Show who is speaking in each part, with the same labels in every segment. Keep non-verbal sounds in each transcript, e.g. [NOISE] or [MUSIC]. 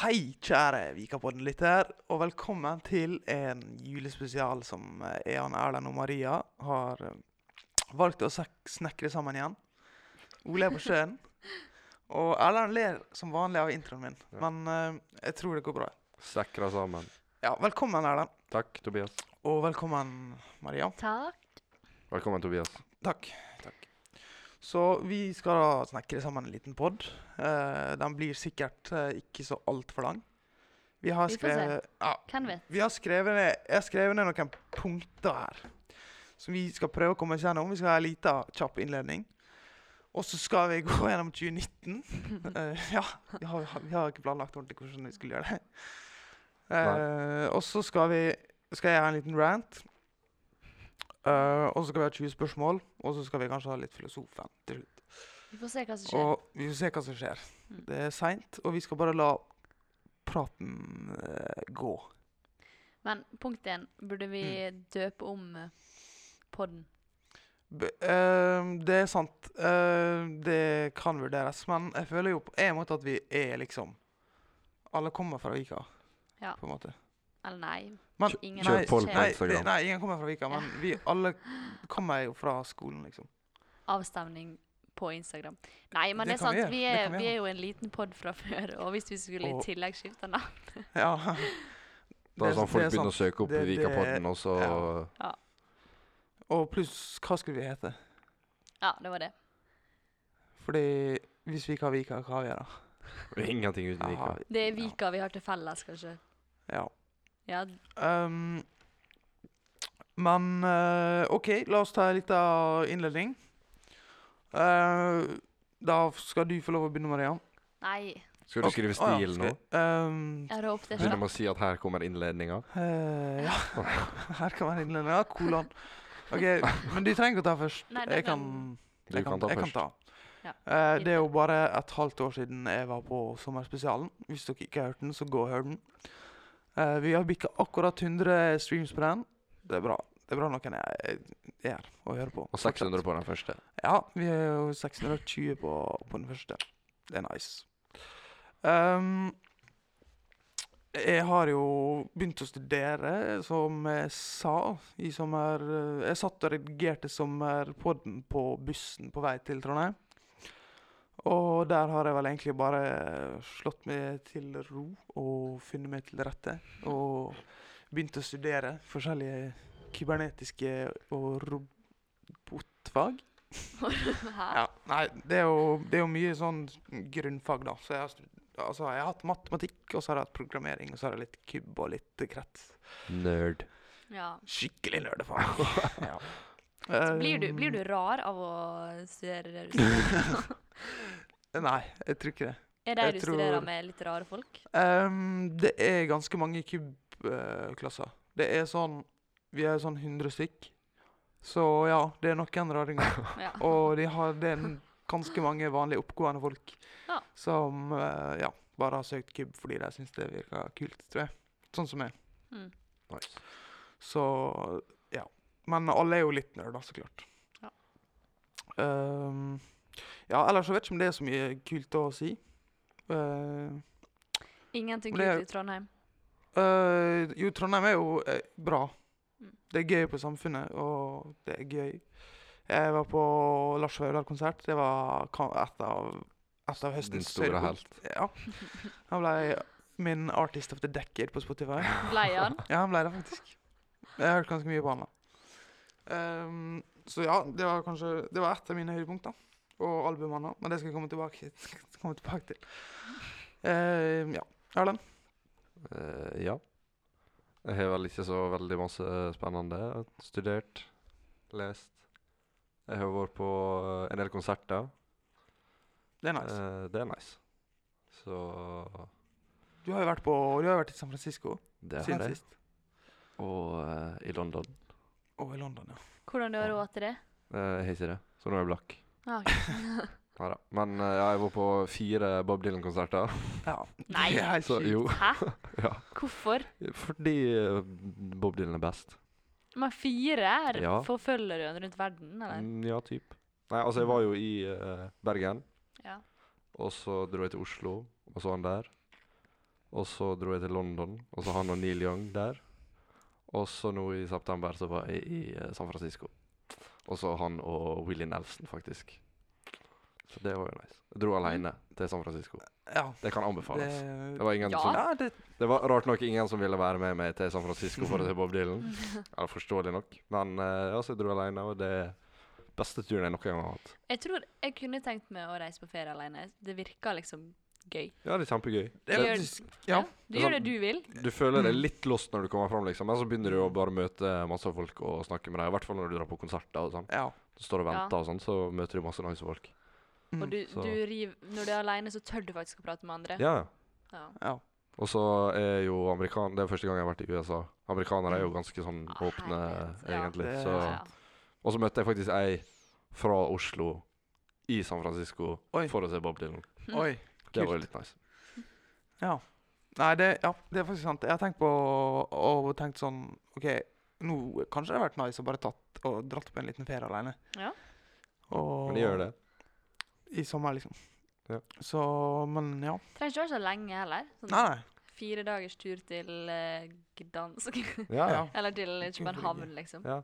Speaker 1: Hei, kjære Vikapodden-lytter, og velkommen til en julespesial som eh, Ean, Erlend og Maria har eh, valgt å sek- snekre sammen igjen. Ole er på
Speaker 2: [LAUGHS]
Speaker 1: sjøen, og Erlend ler som vanlig av introen min,
Speaker 3: Ja.
Speaker 1: men eh, jeg tror det går bra.
Speaker 3: Snekra sammen.
Speaker 1: Ja, velkommen, Erlend,
Speaker 3: Takk, Tobias.
Speaker 1: og velkommen, Maria.
Speaker 2: Takk.
Speaker 3: Velkommen, Tobias.
Speaker 1: Takk. Takk. Så vi skal da snekre sammen en liten pod. Eh, den blir sikkert eh, ikke så altfor lang. Vi har
Speaker 2: Vi får se.
Speaker 1: skrevet ja,
Speaker 2: Hvem vet?
Speaker 1: Vi har skrevet ned, jeg har skrevet ned noen punkter her som vi skal prøve å komme oss gjennom. Vi skal ha en liten kjapp innledning. Og så skal vi gå gjennom 2019.
Speaker 2: [LAUGHS]
Speaker 1: Eh, ja, vi har, vi har ikke planlagt ordentlig hvordan vi skulle gjøre det. Eh, og så skal vi skal jeg ha en liten rant. Eh, og så skal vi ha 20 spørsmål, og så skal vi kanskje ha litt filosofen til slutt.
Speaker 2: Vi får se hva som skjer.
Speaker 1: Og vi får se hva som skjer.
Speaker 2: Mm.
Speaker 1: Det er seint, og vi skal bare la praten eh, gå.
Speaker 2: Men punkt én, burde vi
Speaker 1: Mm.
Speaker 2: døpe om eh, podden?
Speaker 1: B ehm, det er sant. Ehm, det kan vurderes. Men jeg føler jo på en måte at vi er liksom Alle kommer fra Vika,
Speaker 2: Ja.
Speaker 1: på en måte.
Speaker 2: Eller nei?
Speaker 1: Men-
Speaker 2: Ingen
Speaker 1: Kjør
Speaker 2: av
Speaker 3: Kjør
Speaker 2: oss
Speaker 3: poll på
Speaker 2: kjenner
Speaker 1: Nei, det,
Speaker 3: Instagram.
Speaker 1: nei, ingen kommer fra Vika, men vi alle kommer jo fra skolen, liksom.
Speaker 2: avstemning på Instagram. Nei, men
Speaker 1: Det
Speaker 2: det,
Speaker 1: kan
Speaker 2: er
Speaker 1: vi
Speaker 2: sant. Vi
Speaker 1: gjøre, det
Speaker 2: er,
Speaker 1: kan vi
Speaker 2: vi
Speaker 1: gjøre.
Speaker 2: er jo en liten pod fra [LAUGHS] før, og hvis vi skulle
Speaker 1: Og-
Speaker 2: i tillegg skifte navn
Speaker 1: Ja.
Speaker 3: Da er sånn folk
Speaker 1: det
Speaker 3: begynner å
Speaker 1: sant.
Speaker 3: søke opp
Speaker 1: Det- det-
Speaker 3: Vikapodden, og så [LAUGHS]
Speaker 1: ja. Og pluss, hva skulle vi hete?
Speaker 2: Ja, det var det.
Speaker 1: Fordi hvis vi ikke har Vika, hva har vi da?
Speaker 3: Ingenting uten
Speaker 1: Ja,
Speaker 3: Vika.
Speaker 1: vi-
Speaker 2: Det er Vika vi har til felles, kanskje.
Speaker 1: Ja.
Speaker 2: Ja,
Speaker 1: Ehm, men eh, OK, la oss ta en liten innledning. Eh, da skal du få lov å begynne, Maria.
Speaker 2: nei.
Speaker 3: Skal du
Speaker 1: Ok,
Speaker 3: skrive
Speaker 1: å ja,
Speaker 3: stil
Speaker 1: skal
Speaker 3: nå?
Speaker 1: jeg- ehm,
Speaker 2: Jeg hadde håpet det
Speaker 3: Begynner
Speaker 2: skjedde.
Speaker 3: med å si at her kommer innledninga.
Speaker 1: eh, ja,
Speaker 3: [LAUGHS]
Speaker 1: her kan være innledninga. Kolon. OK, men du trenger ikke å ta først.
Speaker 2: Nei, det
Speaker 1: jeg
Speaker 2: kan-
Speaker 1: kan,
Speaker 3: Du
Speaker 1: jeg
Speaker 3: kan ta
Speaker 1: jeg Kan
Speaker 3: først.
Speaker 1: ta.
Speaker 2: Ja,
Speaker 1: Eh, det er jo bare et halvt år siden jeg var på Sommerspesialen. Hvis dere ikke har hørt den, så gå og hør den. Eh, vi har bikka akkurat 100 streams på den. Det er bra. Det er bra noen er er her og hører på.
Speaker 3: Og 600 på den første.
Speaker 1: Ja, vi er jo 620 på, på den første. Det er nice. Ehm, jeg har jo begynt å studere, som jeg sa i sommer. eh, Jeg satt og redigerte sommerpodden på bussen på vei til Trondheim. Og der har jeg vel egentlig bare slått meg til ro og funnet meg til rette. Og begynt å studere forskjellige kybernetiske og robotfag.
Speaker 2: [LAUGHS] Hæ?
Speaker 1: Ja, nei, det er, jo, det er jo mye sånn grunnfag, da. Så jeg har, stud- altså, jeg har hatt matematikk, og så har jeg hatt programmering, og så har jeg litt kubb og litt krets.
Speaker 3: [LAUGHS] Nerd.
Speaker 2: Ja.
Speaker 1: Skikkelig nerdefag. ja.
Speaker 2: Så blir du, blir du
Speaker 1: Um.
Speaker 2: rar av å studere
Speaker 1: [LAUGHS]
Speaker 2: det du studerer?
Speaker 1: Eh, Nei, jeg tror ikke det.
Speaker 2: er de
Speaker 1: Jeg
Speaker 2: du
Speaker 1: tror-
Speaker 2: studerer med, litt rare folk?
Speaker 1: Ehm, det er ganske mange kubb-klasser. det er sånn Vi er sånn 100 stykk. Så ja, det er noen raringer.
Speaker 2: [LAUGHS] Ja.
Speaker 1: Og de har, det er n- ganske mange vanlige oppgående folk
Speaker 2: Ja.
Speaker 1: som eh, ja, bare har søkt kubb fordi de syns det virker kult, tror jeg. Sånn som meg.
Speaker 2: Mm.
Speaker 3: Nice.
Speaker 1: Så ja. Men alle er jo litt nerder, så klart.
Speaker 2: Ja.
Speaker 1: Ehm, ja, ellers så vet jeg ikke om det er så mye kult å si. Eh,
Speaker 2: Ingenting
Speaker 1: Men det er-
Speaker 2: kult i Trondheim.
Speaker 1: eh, jo, Trondheim er jo eh, bra.
Speaker 2: Mm.
Speaker 1: Det er gøy på samfunnet, og det er gøy. Jeg var på Lars Vaular-konsert. Det var ka- et av, et av
Speaker 3: Din
Speaker 1: høstens
Speaker 3: store
Speaker 1: høydepunkt.
Speaker 3: helt.
Speaker 1: Ja. Han ble min Artist of the Decade på Spotify.
Speaker 2: Blei han?
Speaker 1: Ja, han ble det faktisk. Jeg har hørt ganske mye på han da. Ehm, så ja, det var kanskje Det var et av mine høydepunkter. Og albumene, men det skal jeg komme tilbake, komme tilbake til. Ehm, ja. Erlend?
Speaker 3: Eh, ja. Jeg har vel ikke så veldig masse eh, spennende. Jeg har Studert, lest. Jeg har vært på eh, en del konserter.
Speaker 1: Det er nice.
Speaker 3: Eh, det er nice. Så Eh.
Speaker 1: Du har jo vært, på, du har jo vært i San Francisco
Speaker 3: Det har
Speaker 1: siden
Speaker 3: jeg.
Speaker 1: sist.
Speaker 3: Og eh, i London.
Speaker 1: Og i London, ja.
Speaker 2: Hvordan du har råd til det?
Speaker 3: Eh, Jeg har ikke det, så nå er jeg blakk.
Speaker 2: Ah,
Speaker 3: Nei da. Men eh, ja, jeg var på fire Bob Dylan-konserter.
Speaker 1: ja.
Speaker 2: Nei.
Speaker 1: Det er helt
Speaker 3: Så
Speaker 1: sjukt.
Speaker 3: [LAUGHS] jo,
Speaker 2: Hæ?
Speaker 3: [LAUGHS] ja.
Speaker 2: Hvorfor?
Speaker 3: [LAUGHS] Fordi eh, Bob Dylan er best.
Speaker 2: Men fire er
Speaker 3: Ja.
Speaker 2: forfølger du han rundt verden, eller?
Speaker 3: Mm, Ja, typ. Nei, altså, jeg var jo i eh, Bergen,
Speaker 2: Ja.
Speaker 3: og så dro jeg til Oslo, og så han der. Og så dro jeg til London, og så han og Neil Young der. Og så nå i september så var jeg i eh, San Francisco. Og så han og Willy Nelson, faktisk. Så det var jo nice. Jeg dro alene til San Francisco.
Speaker 1: Ja.
Speaker 3: Det kan anbefales. Det
Speaker 1: Det,
Speaker 3: var ingen sånn
Speaker 2: Ja.
Speaker 3: som
Speaker 1: ja, det,
Speaker 3: det var rart nok ingen som ville være med meg til San Francisco for å se Bob Dylan. Ja, forståelig nok. Men eh, ja, så jeg dro alene, og det er beste turen jeg noen gang har hatt.
Speaker 2: Jeg tror jeg kunne tenkt meg å reise på ferie alene. Det virker liksom gøy.
Speaker 3: Ja, det er kjempegøy.
Speaker 1: det er
Speaker 2: Gjør-
Speaker 1: faktisk Ja.
Speaker 3: Sånn
Speaker 2: Du gjør det du vil.
Speaker 3: Du føler deg litt lost når du kommer fram, liksom. Men så begynner du å bare møte masse folk og snakke med dem. I hvert fall når du drar på konserter og sånn.
Speaker 1: ja.
Speaker 3: Du står og
Speaker 2: Ja.
Speaker 3: venter og sånn, så møter du masse nice folk.
Speaker 2: Og
Speaker 1: Mm,
Speaker 2: du,
Speaker 3: så-
Speaker 2: du riv, når du er alene, så tør du faktisk å prate med andre.
Speaker 3: Ja, ja.
Speaker 2: Ja.
Speaker 1: ja.
Speaker 3: Og så er jo amerikan... Det er første gang jeg har vært i USA. Amerikanere er jo ganske sånn
Speaker 2: Ah,
Speaker 3: åpne,
Speaker 2: herlighet. Ja.
Speaker 3: egentlig.
Speaker 1: Det-
Speaker 3: Så.
Speaker 2: Ja.
Speaker 1: Ja.
Speaker 3: Og så møtte jeg faktisk ei fra Oslo i San Francisco
Speaker 1: Oi.
Speaker 3: for å se Bob Dylan.
Speaker 2: Mm.
Speaker 1: Oi.
Speaker 3: Det var
Speaker 1: Kult.
Speaker 3: jo litt nice.
Speaker 1: Ja. Nei, det, ja, det er faktisk sant. Jeg har tenkt på og tenkt sånn OK, nå kanskje det hadde vært nice å bare tatt og dratt på en liten ferie alene.
Speaker 2: Ja.
Speaker 1: Og,
Speaker 3: Men de gjør det.
Speaker 1: I sommer, liksom.
Speaker 3: Ja.
Speaker 1: Så Men ja.
Speaker 2: Trenger ikke være så lenge heller. Sånn
Speaker 1: Nei, nei.
Speaker 2: Fire dagers tur til eh, Gdansk. [LAUGHS]
Speaker 3: Ja, ja.
Speaker 1: Ja.
Speaker 2: Eller til København, liksom.
Speaker 3: ja.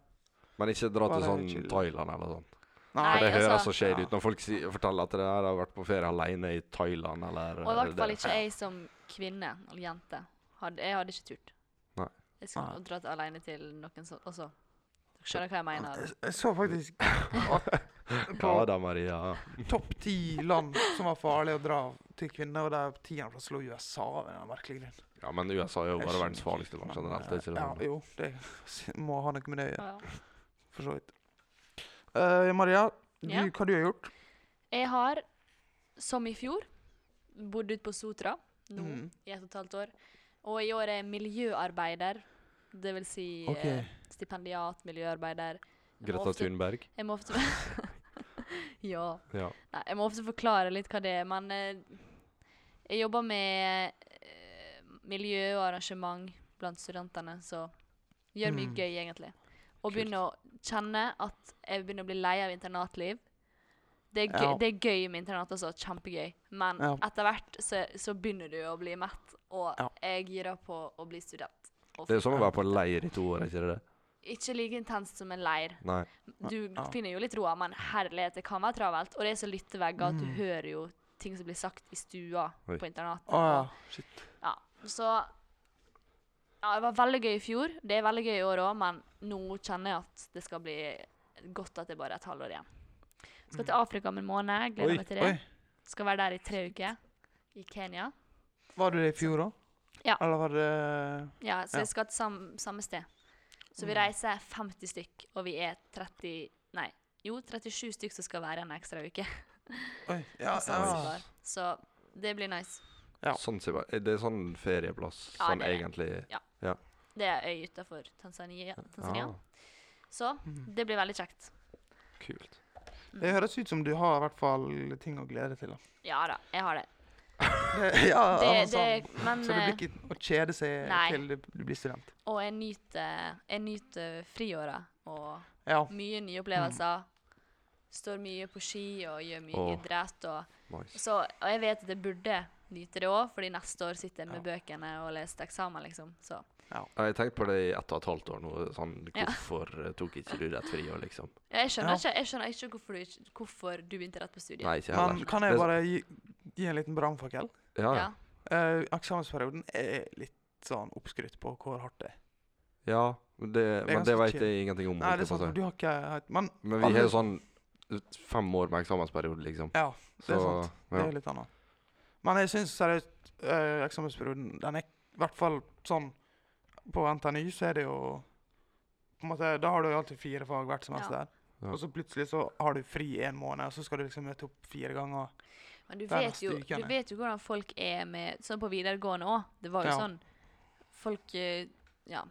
Speaker 3: Men ikke dra til
Speaker 1: Bare
Speaker 3: sånn
Speaker 1: chill.
Speaker 3: Thailand eller sånn.
Speaker 1: Nei.
Speaker 3: For det
Speaker 2: altså-
Speaker 3: høres så shady
Speaker 1: Ja.
Speaker 3: ut når folk si, forteller at de har vært på ferie alene i Thailand eller
Speaker 2: Og i hvert fall
Speaker 3: [LAUGHS] det.
Speaker 2: ikke jeg som kvinne eller jente. Hadde, jeg hadde ikke turt.
Speaker 3: Nei.
Speaker 2: Jeg skulle
Speaker 1: Nei.
Speaker 2: dratt alene til noen som også. Dere skjønner hva jeg mener.
Speaker 1: Jeg- Jeg så faktisk at på
Speaker 3: Ja da, Maria.
Speaker 1: topp ti land som var farlig å dra til kvinner, og der tiendeplass lå USA av en eller annen merkelig grunn.
Speaker 3: Ja, men USA er jo
Speaker 1: Jeg
Speaker 3: bare verdens
Speaker 1: skjønner
Speaker 3: farligste land generelt. det er ikke det
Speaker 1: Ja,
Speaker 3: sånn?
Speaker 1: jo, det [LAUGHS] s- må ha noe med det å gjøre,
Speaker 2: Ja.
Speaker 1: for så vidt. Eh, Maria, du,
Speaker 2: Ja.
Speaker 1: hva du har gjort?
Speaker 2: Jeg har, som i fjor, bodd ute på Sotra nå
Speaker 1: Mm.
Speaker 2: i et og et halvt år. Og i år er jeg miljøarbeider. Det vil si
Speaker 1: Ok.
Speaker 2: eh, stipendiat, miljøarbeider. Jeg må
Speaker 3: Greta
Speaker 2: ofte- [LAUGHS]
Speaker 3: Thunberg.
Speaker 2: Jeg må ofte [LAUGHS] Ja.
Speaker 3: Ja.
Speaker 2: Nei, jeg må ofte forklare litt hva det er, men eh, jeg jobber med eh, miljø og arrangement blant studentene, så gjør mye
Speaker 1: Mm.
Speaker 2: gøy, egentlig. Og begynner å kjenne at jeg begynner å bli lei av internatliv. Det er, gøy,
Speaker 1: Ja.
Speaker 2: det er gøy med internat også, kjempegøy, men
Speaker 1: Ja.
Speaker 2: etter hvert så, så begynner du å bli mett, og
Speaker 1: Ja.
Speaker 2: jeg girer på å bli student. Og
Speaker 3: Det er jo som å være på leir i to år, er ikke det det?
Speaker 2: Ikke like intenst som en leir,
Speaker 3: Nei.
Speaker 2: du
Speaker 1: Ja.
Speaker 2: finner jo litt roa, men herlighet, det kan være travelt. Og det er så lyttevegger at du hører jo ting som blir sagt i stua
Speaker 3: Oi.
Speaker 2: på internatet.
Speaker 1: Mm. Å ja, shit.
Speaker 2: Ja, Så ja, det var veldig gøy i fjor. Det er veldig gøy i år òg, men nå kjenner jeg at det skal bli godt at det bare er et halvår igjen. Skal til Afrika om en måned.
Speaker 3: Oi,
Speaker 2: Gleder meg til det.
Speaker 1: Mm. Oi,
Speaker 2: Skal være der i tre uker. I Kenya.
Speaker 1: var du det i fjor òg?
Speaker 2: Ja.
Speaker 1: Eller var det
Speaker 2: Ja, så
Speaker 1: Ja. Mm.
Speaker 2: jeg skal til sam samme sted. Så vi reiser 50 stykk, og vi er 30 Nei, jo, 37 stykk som skal være en ekstra uke.
Speaker 1: Oi, ja, ja.
Speaker 2: på Zanzibar. Så det blir nice.
Speaker 1: Ja.
Speaker 3: Sånn, sier jeg. det er sånn ferieplass,
Speaker 2: Ja,
Speaker 3: sånn
Speaker 2: det er det.
Speaker 3: egentlig.
Speaker 2: Det er øy utafor Tanzania. Tanzania.
Speaker 3: Ah,
Speaker 2: Så det blir veldig kjekt.
Speaker 3: kult.
Speaker 1: Det høres ut som du har i hvert fall ting å glede deg til. Da.
Speaker 2: Ja da, jeg har det.
Speaker 1: Det- ja,
Speaker 2: det,
Speaker 1: altså,
Speaker 2: det men
Speaker 1: så det blir
Speaker 2: eh,
Speaker 1: ikke å kjede seg
Speaker 2: Nei.
Speaker 1: til du du blir student.
Speaker 2: Og jeg nyter, jeg nyter friåra og
Speaker 1: Ja.
Speaker 2: mye nye opplevelser. Står mye på ski og gjør mye
Speaker 3: Åh.
Speaker 2: idrett. Og,
Speaker 3: Nice.
Speaker 2: så, og jeg vet at jeg burde nyte det òg, fordi neste år sitter jeg med bøkene og leser til eksamen, liksom. Så
Speaker 3: Ja, Jeg har tenkt på det i ett og et halvt år nå. Sånn,
Speaker 2: Ja.
Speaker 3: hvorfor eh, tok ikke du deg et friår, liksom?
Speaker 2: ja, jeg skjønner,
Speaker 1: Ja.
Speaker 2: ikke, jeg skjønner ikke hvorfor du, ikke- hvorfor du begynte rett på studiet.
Speaker 3: Nei, ikke
Speaker 1: Men
Speaker 3: heller.
Speaker 1: kan
Speaker 3: Det
Speaker 1: jeg
Speaker 3: er så-
Speaker 1: bare gi, gi en liten brannfakkel?
Speaker 3: Ja, ja.
Speaker 2: Ja.
Speaker 1: Eh, eksamensperioden er litt sånn oppskrytt på hvor hardt det er.
Speaker 3: ja men det, men det
Speaker 1: ganske
Speaker 3: vet
Speaker 1: chill.
Speaker 3: jeg ingenting om.
Speaker 1: Nei, det er
Speaker 3: holdt jeg på å
Speaker 1: sant,
Speaker 3: si.
Speaker 1: for du har ikke hatt Men
Speaker 3: Men vi har
Speaker 1: Alle-
Speaker 3: jo sånn ut- fem år med eksamensperiode, liksom.
Speaker 1: ja, det er
Speaker 3: Så,
Speaker 1: sant. Det
Speaker 3: ja.
Speaker 1: er litt annet. Men jeg syns seriøst eh, eksamensperioden Den er i hvert fall sånn På NTNU så er det jo på en måte, Da har du jo alltid fire fag hvert semester.
Speaker 3: Ja.
Speaker 1: Og så plutselig så har du fri en måned, og så skal du liksom møte opp fire ganger.
Speaker 2: Men du
Speaker 1: Det er
Speaker 2: vet,
Speaker 1: neste
Speaker 2: jo,
Speaker 1: ukene.
Speaker 2: du vet jo hvordan folk er med Sånn på videregående òg. Det var jo
Speaker 1: Ja.
Speaker 2: sånn Folk eh, ja,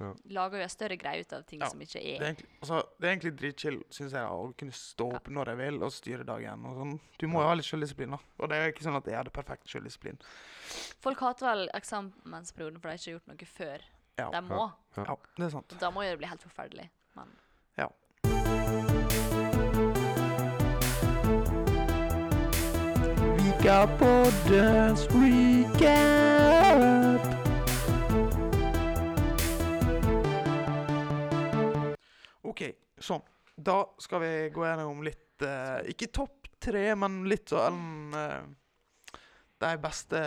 Speaker 3: Ja.
Speaker 2: lager jo en større greie ut av ting
Speaker 1: Ja,
Speaker 2: som ikke
Speaker 1: Det er
Speaker 2: er
Speaker 1: egentlig, altså, det er egentlig dritchill, syns jeg, å kunne stå opp når jeg vil, og styre dagen. og sånn. Du må jo ha litt sjøldisiplin, da. Og det er ikke sånn at jeg hadde perfekt sjøldisiplin.
Speaker 2: Folk hater vel eksamensperioden, for de har ikke gjort noe før.
Speaker 1: Ja.
Speaker 2: De må.
Speaker 1: Ja, det er sant.
Speaker 2: Da må jo det bli helt forferdelig. Men
Speaker 1: Ja. Fikapoddens recap. OK, sånn. Da skal vi gå gjennom litt eh, Ikke topp tre, men litt sånn eh, De beste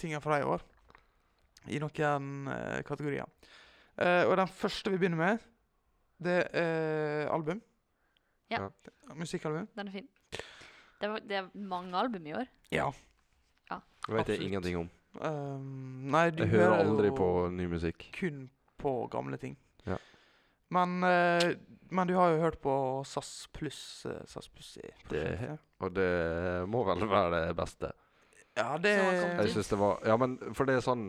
Speaker 1: tingene fra i år. I noen eh, kategorier. Eh, og den første vi begynner med, det er album.
Speaker 2: Ja.
Speaker 1: Musikkalbum.
Speaker 2: Den er fin. Det, var, det er mange album i år.
Speaker 1: Ja.
Speaker 3: Det vet jeg
Speaker 1: Absolutt.
Speaker 3: ingenting om.
Speaker 1: Um, nei, du
Speaker 3: Jeg hører aldri
Speaker 1: jo
Speaker 3: på ny musikk.
Speaker 1: kun på gamle ting.
Speaker 3: Ja.
Speaker 1: Men, eh, men du har jo hørt på SAS pluss eh, SAS pluss i
Speaker 3: Det- Og det må vel være det beste.
Speaker 1: Ja, det
Speaker 2: Som har kommet
Speaker 3: Jeg synes det var Ja, men for det er sånn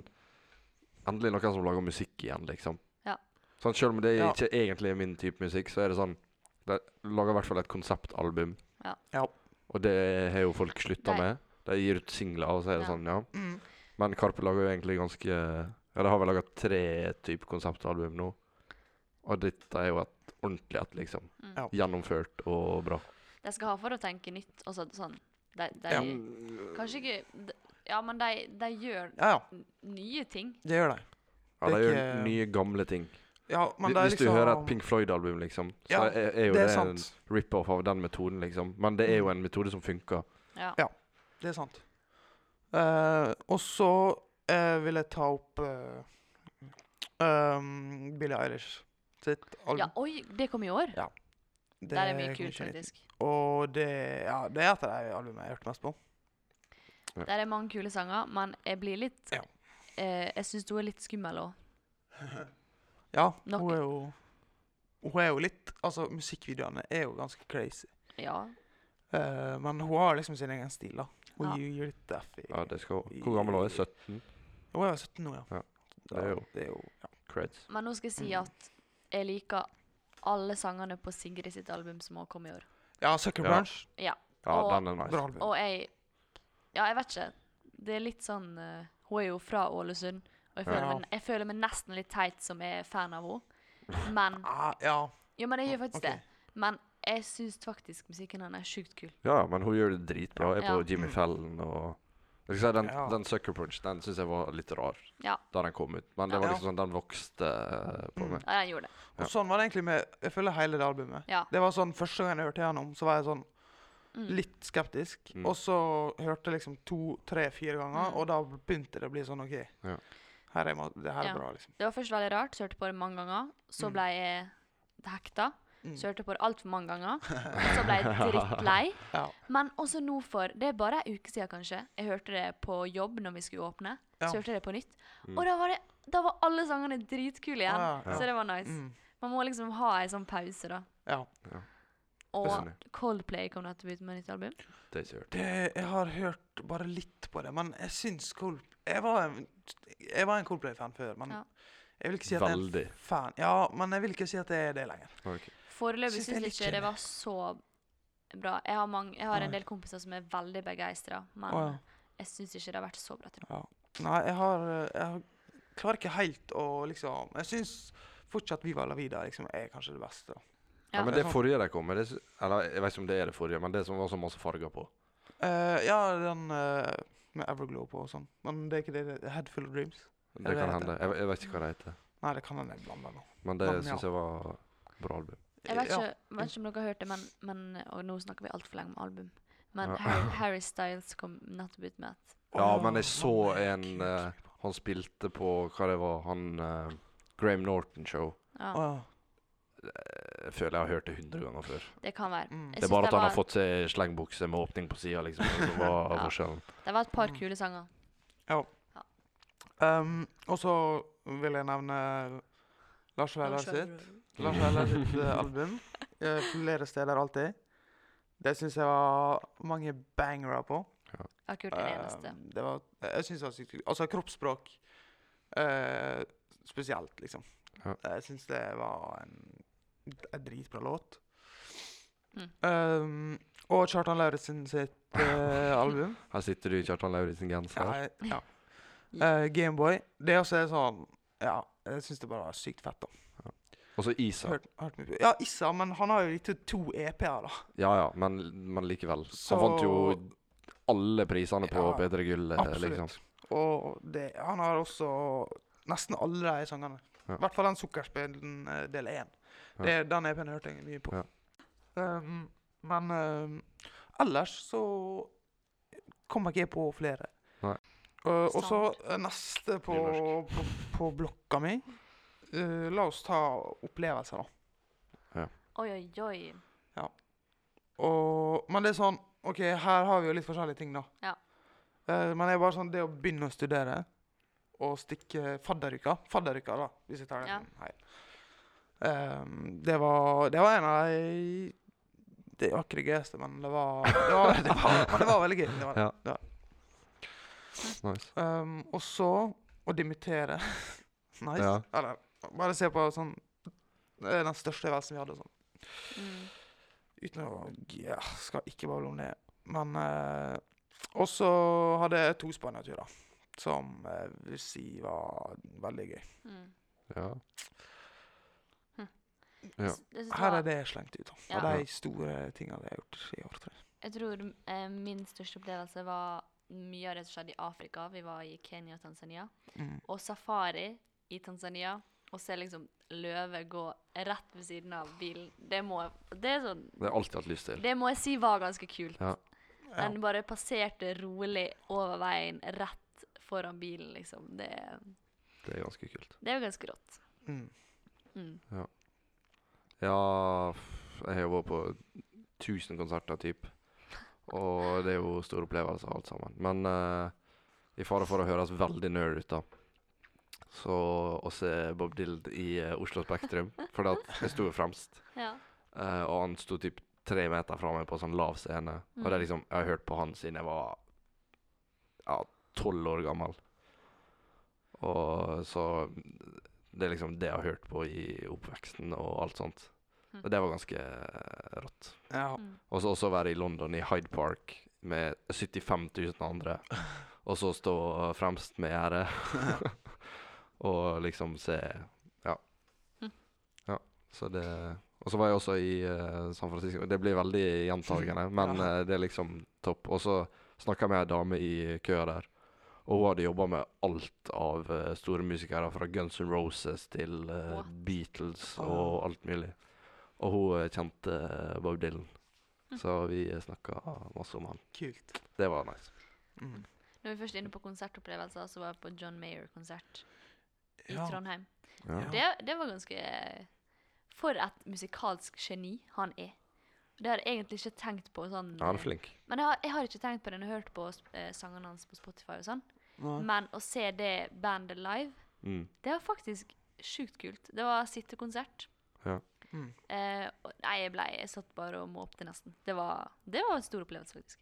Speaker 3: Endelig noen som lager musikk igjen, liksom.
Speaker 2: Ja.
Speaker 3: Sånn, selv om det
Speaker 1: Ja.
Speaker 3: ikke egentlig er min type musikk, så er det sånn De lager i hvert fall et konseptalbum.
Speaker 2: Ja.
Speaker 1: Ja.
Speaker 3: Og det har jo folk slutta
Speaker 2: Nei.
Speaker 3: med. De gir ut singler, og så er det
Speaker 2: Ja.
Speaker 3: sånn, ja.
Speaker 1: mm,
Speaker 3: Men Karpe lager jo egentlig ganske Ja, de har vel laga tre type konseptalbum nå. Og dette er jo et ordentlig et, liksom.
Speaker 2: Mm.
Speaker 1: Ja.
Speaker 3: Gjennomført og bra.
Speaker 2: De skal ha for å tenke nytt. Og så, sånn. de, de,
Speaker 1: Ja.
Speaker 2: Kanskje ikke de, Ja, men de, de gjør
Speaker 1: ja, ja.
Speaker 2: n- nye ting.
Speaker 1: Det gjør de.
Speaker 3: Ja,
Speaker 1: Det
Speaker 3: de
Speaker 1: er
Speaker 3: gjør
Speaker 1: ikke-
Speaker 3: nye, gamle ting.
Speaker 1: Ja, men
Speaker 3: Hvis
Speaker 1: det er
Speaker 3: hvis du
Speaker 1: liksom
Speaker 3: hører et Pink Floyd-album, liksom, så
Speaker 1: Ja,
Speaker 3: er, er jo
Speaker 1: Det
Speaker 3: det,
Speaker 1: er
Speaker 3: en
Speaker 1: sant.
Speaker 3: rip-off av den metoden, liksom. Men det
Speaker 1: Mm.
Speaker 3: er jo en metode som funker.
Speaker 2: Ja.
Speaker 1: Ja. Det er sant. Eh, og så eh, vil jeg ta opp eh, um, Billie Eilish sitt album.
Speaker 2: ja oi, det kom i år.
Speaker 1: det
Speaker 2: Der er mye
Speaker 1: kom
Speaker 2: kult,
Speaker 1: 2019.
Speaker 2: faktisk.
Speaker 1: Og det, ja, det er et av de albumene jeg har hørt mest på.
Speaker 2: Der er mange kule sanger, men jeg blir litt
Speaker 1: Ja.
Speaker 2: eh, Jeg syns hun er litt skummel òg.
Speaker 1: Ja,
Speaker 2: Nok-
Speaker 1: hun er jo Hun er jo litt Altså, musikkvideoene er jo ganske crazy.
Speaker 2: Ja.
Speaker 1: Eh, men hun har liksom sin egen stil, da. Hun
Speaker 2: Ja.
Speaker 1: gir- gir litt F i
Speaker 3: Ja, det skal Hvor gammel er hun? 17?
Speaker 1: Hun er jo 17 nå, ja.
Speaker 3: Ja, det er jo-
Speaker 1: det er jo ja.
Speaker 3: Creds.
Speaker 2: Men nå skal jeg si
Speaker 1: Mm.
Speaker 2: at jeg liker alle sangene på Sigrid sitt album som har kommet i år.
Speaker 1: ja, Sucker
Speaker 3: Ja.
Speaker 1: Punch.
Speaker 3: Ja,
Speaker 2: Og-
Speaker 3: den er
Speaker 1: Bra
Speaker 3: nice.
Speaker 1: album.
Speaker 2: Og jeg Ja, jeg vet ikke. Det er litt sånn eh, Hun er jo fra Ålesund, og jeg føler,
Speaker 1: Ja.
Speaker 2: meg, jeg føler meg nesten litt teit som er fan av henne. Men
Speaker 1: Ah, ja.
Speaker 2: Jo, men jeg gjør faktisk
Speaker 1: ok.
Speaker 2: det. Men jeg syns faktisk musikken hennes er sjukt kul.
Speaker 3: Ja, men hun gjør det dritbra. Jeg er på
Speaker 2: Ja.
Speaker 3: Jimmy Fallon og jeg skal si, den,
Speaker 1: Mm. Ja.
Speaker 3: den Sucker Punch den syns jeg var litt rar
Speaker 2: Ja.
Speaker 3: da den kom ut. Men
Speaker 1: Ja.
Speaker 3: det var liksom sånn, den vokste eh, på
Speaker 1: Mm.
Speaker 3: meg.
Speaker 2: Ja, den gjorde det.
Speaker 3: Ja.
Speaker 1: Og sånn var det egentlig med Jeg føler hele det albumet.
Speaker 2: Ja.
Speaker 1: Det var sånn Første gang jeg hørte gjennom, så var jeg sånn
Speaker 2: Mm.
Speaker 1: litt skeptisk.
Speaker 3: Mm.
Speaker 1: Og så hørte jeg liksom to, tre, fire ganger,
Speaker 2: Mm.
Speaker 1: og da begynte det å bli sånn OK,
Speaker 3: Ja.
Speaker 1: her er, ma- det her er
Speaker 2: Ja.
Speaker 1: bra, liksom.
Speaker 2: Det var først veldig rart, så hørte jeg på det mange ganger. Så
Speaker 1: Mm.
Speaker 2: ble jeg hekta.
Speaker 1: Mm.
Speaker 2: Så hørte jeg på det altfor
Speaker 1: [LAUGHS]
Speaker 2: mange ganger. Og så ble jeg drittlei.
Speaker 1: Ja.
Speaker 2: Men også nå for Det er bare ei uke siden, kanskje. Jeg hørte det på jobb når vi skulle åpne.
Speaker 1: Ja.
Speaker 2: Så hørte jeg det på nytt.
Speaker 3: Mm.
Speaker 2: Og da var, det, da var alle sangene dritkule igjen.
Speaker 1: Ah, Ja, ja.
Speaker 2: Så det var nice.
Speaker 1: Mm.
Speaker 2: Man må liksom ha ei sånn pause, da.
Speaker 1: ja.
Speaker 2: Og
Speaker 3: Enig.
Speaker 2: Coldplay kom nettopp ut med nytt album.
Speaker 3: Det er ikke hørt.
Speaker 1: Det, jeg har hørt bare litt på det, men jeg syns Cold... Jeg var en, jeg var en Coldplay-fan før, men
Speaker 2: Ja.
Speaker 1: jeg vil ikke si at jeg
Speaker 3: Veldig.
Speaker 1: er en fan. Ja, men jeg vil ikke si at jeg er det lenger.
Speaker 3: Ok.
Speaker 2: Foreløpig
Speaker 1: Syns det er
Speaker 2: syns jeg
Speaker 1: litt
Speaker 2: ikke det
Speaker 1: kjedelig.
Speaker 2: var så bra. Jeg har, mange, jeg har en
Speaker 1: Nei.
Speaker 2: del kompiser som er veldig begeistra, men
Speaker 1: Å, ja.
Speaker 2: jeg syns ikke det har vært så bra til nå.
Speaker 1: Nei, jeg har Jeg har- klarer ikke helt å liksom Jeg syns fortsatt Viva la vida liksom, er kanskje det beste.
Speaker 3: Ja.
Speaker 2: Ja.
Speaker 3: men det forrige de kom med, det, sy- eller jeg vet ikke om det er det forrige, men det som var så masse farger på.
Speaker 1: Eh, ja, den eh, med Everglow på og sånn, men det er ikke det. det er Headful of Dreams.
Speaker 3: Det
Speaker 1: det
Speaker 3: kan
Speaker 1: heter?
Speaker 3: hende. Jeg, jeg vet ikke hva det heter.
Speaker 1: Nei, det kan hende jeg blander nå.
Speaker 3: Men det
Speaker 1: Men ja.
Speaker 3: syns jeg var bra album.
Speaker 2: Jeg vet
Speaker 1: Ja.
Speaker 2: ikke, vet ikke om dere har hørt det, men, men Og nå snakker vi altfor lenge om album. Men
Speaker 3: Ja.
Speaker 2: Harry,
Speaker 1: [LAUGHS]
Speaker 2: Harry Styles kom nettopp ut med et
Speaker 3: Ja,
Speaker 1: Åh,
Speaker 3: men jeg så
Speaker 1: mamma,
Speaker 3: en
Speaker 1: Gud.
Speaker 3: eh, Han spilte på hva det var, han eh, Graham Norton-show.
Speaker 2: ja,
Speaker 1: Åh,
Speaker 3: Jeg føler jeg har hørt det 100 ganger før.
Speaker 2: Det kan være.
Speaker 1: Mm.
Speaker 3: Det
Speaker 2: Jeg syns
Speaker 3: er bare at han
Speaker 2: var,
Speaker 3: har fått seg slengbukse med åpning på sida, liksom.
Speaker 2: [LAUGHS]
Speaker 3: Det var
Speaker 2: Ja.
Speaker 3: forskjellen.
Speaker 2: det var et par
Speaker 1: Mm.
Speaker 2: kule sanger.
Speaker 1: Um, og så vil jeg nevne Lars Vaular sitt. Lars Vaular sitt eh,
Speaker 2: [LAUGHS]
Speaker 1: album. eh, Flere steder alltid. Det syns jeg var mange bangere på.
Speaker 2: Jeg har ikke gjort en eneste.
Speaker 1: Um, det var, jeg syns det var sykt kult. Altså kroppsspråk eh, spesielt, liksom.
Speaker 3: Ja.
Speaker 1: Jeg syns det var en, en dritbra låt.
Speaker 2: Mm.
Speaker 1: Um, og Kjartan Lauritzen sitt eh, album.
Speaker 3: Her sitter du i Kjartan Lauritzen-genser.
Speaker 1: Ja, jeg- ja. Eh, Gameboy. Det også er sånn Ja, jeg syns det bare var sykt fett, da.
Speaker 3: Og så Isa.
Speaker 1: Hørt, hørt mye på. Ja, Issa, men han har jo gitt ut to EP-er, E da.
Speaker 3: Ja ja, men, men likevel.
Speaker 1: Så-
Speaker 3: Han vant jo alle prisene på
Speaker 1: Ja,
Speaker 3: P3 Gull. eh,
Speaker 1: absolutt.
Speaker 3: Liksom.
Speaker 1: Og det, han har også nesten alle de sangene. I
Speaker 3: Ja.
Speaker 1: hvert fall den Sukkerspillen eh, del én.
Speaker 3: Ja.
Speaker 1: Det- Den EP-en hørte jeg mye på.
Speaker 3: Ja.
Speaker 1: Um, men um, ellers så kom ikke jeg på flere.
Speaker 3: Nei.
Speaker 1: Uh, og så
Speaker 2: Sant.
Speaker 1: eh, neste på,
Speaker 3: Nynorsk.
Speaker 1: på, på blokka mi Eh, La oss ta opplevelser, da.
Speaker 2: Oi, oi, oi.
Speaker 1: Og, men det er sånn OK, her har vi jo litt forskjellige ting, da.
Speaker 2: Ja.
Speaker 1: Eh, men det er bare sånn det å begynne å studere og stikke fadderuka Fadderuka, da, hvis jeg tar den
Speaker 2: Ja.
Speaker 1: her. Ehm, det, var, det var en av de Det var ikke det gøyeste, men det var, det var, det var,
Speaker 2: [LAUGHS]
Speaker 1: men det var veldig gøy. Det var det.
Speaker 3: Nice.
Speaker 1: Ehm, og så å dimittere. [LAUGHS] nice.
Speaker 3: Ja.
Speaker 1: Eller bare se på sånn Det er den største øvelsen vi hadde. og sånn.
Speaker 2: Mm.
Speaker 1: Uten å ja, Skal ikke bable om det. Men eh, Og så hadde jeg to Spania-turer, som eh, vil si var veldig gøy.
Speaker 2: Mm.
Speaker 3: Ja. Ja.
Speaker 2: Jeg, synes det
Speaker 1: Her
Speaker 2: var-
Speaker 1: er det jeg slengte ut, da. Av
Speaker 2: Ja.
Speaker 1: de store tingene jeg har gjort i år, tror jeg.
Speaker 2: jeg tror eh, min største opplevelse var mye av det som skjedde i Afrika. Vi var i Kenya og Tanzania.
Speaker 1: Mm.
Speaker 2: Og safari i Tanzania. Og se liksom løve gå rett ved siden av bilen. Det må, det er sånn,
Speaker 3: Det har jeg alltid hatt lyst til.
Speaker 2: det må jeg si var ganske kult.
Speaker 3: Ja.
Speaker 1: Ja.
Speaker 2: Den bare passerte rolig over veien, rett foran bilen, liksom. Det,
Speaker 3: Det er ganske kult.
Speaker 2: det er jo ganske rått.
Speaker 1: Mm.
Speaker 2: Mm.
Speaker 3: Ja, f- jeg har jo vært på 1000 konserter, typ. Og det er jo store opplevelser alt sammen. Men eh, i fare for å høres veldig nerd ut, da. Så å se Bob Dylan i eh, Oslo Spektrum, for jeg sto jo fremst.
Speaker 2: Ja.
Speaker 3: Eh, og han sto typ tre meter fra meg på sånn lav scene. Og det er liksom, jeg har hørt på han siden jeg var ja, tolv år gammel. Og så Det er liksom det jeg har hørt på i oppveksten og alt sånt.
Speaker 2: Mm.
Speaker 3: Og det var ganske eh, rått.
Speaker 1: Ja.
Speaker 2: Mm.
Speaker 3: Og så også være i London, i Hyde Park, med 75 000 andre. Og så stå eh, fremst med gjerdet. [LAUGHS] og liksom se Ja.
Speaker 2: Mm.
Speaker 3: Ja, så det Og så var jeg også i eh, San Francisco. Det blir veldig gjentagende, men
Speaker 1: Ja.
Speaker 3: eh, det er liksom topp. Og så snakka jeg med ei dame i køa der. Og hun hadde jobba med alt av eh, store musikere, fra Guns N' Roses til eh,
Speaker 2: What?
Speaker 3: Beatles
Speaker 1: Ah.
Speaker 3: og alt mulig. Og hun eh, kjente eh, Bob Dylan,
Speaker 2: Mm.
Speaker 3: så vi snakka masse om han.
Speaker 1: Kult.
Speaker 3: Det var nice.
Speaker 1: Mm.
Speaker 2: Når vi først er inne på konsertopplevelser, så var jeg på John Mayer-konsert i
Speaker 1: Ja.
Speaker 2: Trondheim.
Speaker 1: Ja.
Speaker 2: Det, det var ganske For et musikalsk geni han er. Det har jeg egentlig ikke tenkt på sånn
Speaker 3: Ja, han er flink.
Speaker 2: Men jeg har, jeg har ikke tenkt på det når jeg har hørt på eh, sangene hans på Spotify og sånn.
Speaker 1: Nei.
Speaker 2: Men å se det bandet live,
Speaker 3: Mm.
Speaker 2: det var faktisk sjukt kult. Det var sittekonsert.
Speaker 1: Mm.
Speaker 2: Eh, og- nei, jeg ble Jeg satt bare og måpte nesten. Det var, det var en stor opplevelse, faktisk.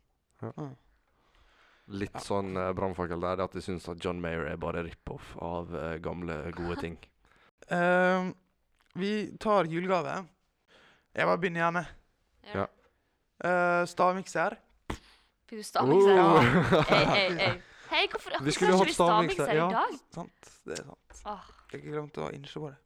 Speaker 3: Litt sånn uh, brannfakkel der, det at jeg syns at John Mayer er bare rip-off av eh, gamle, gode ting.
Speaker 2: [LAUGHS]
Speaker 1: Ehm, vi tar julegave. Jeg bare begynner gjerne.
Speaker 3: Ja.
Speaker 1: Eh, stavmikser.
Speaker 2: Fikk du stavmikser?
Speaker 1: Oh.
Speaker 2: Ei, ei, ei. Hei, hvorfor
Speaker 3: Vi skulle jo hatt
Speaker 2: hvorfor har ikke vi
Speaker 3: stavmikser,
Speaker 2: stavmikser
Speaker 3: ja.
Speaker 2: i dag?
Speaker 1: Sant, det er sånn sant.
Speaker 2: Åh,
Speaker 1: Jeg glemte å innse på det.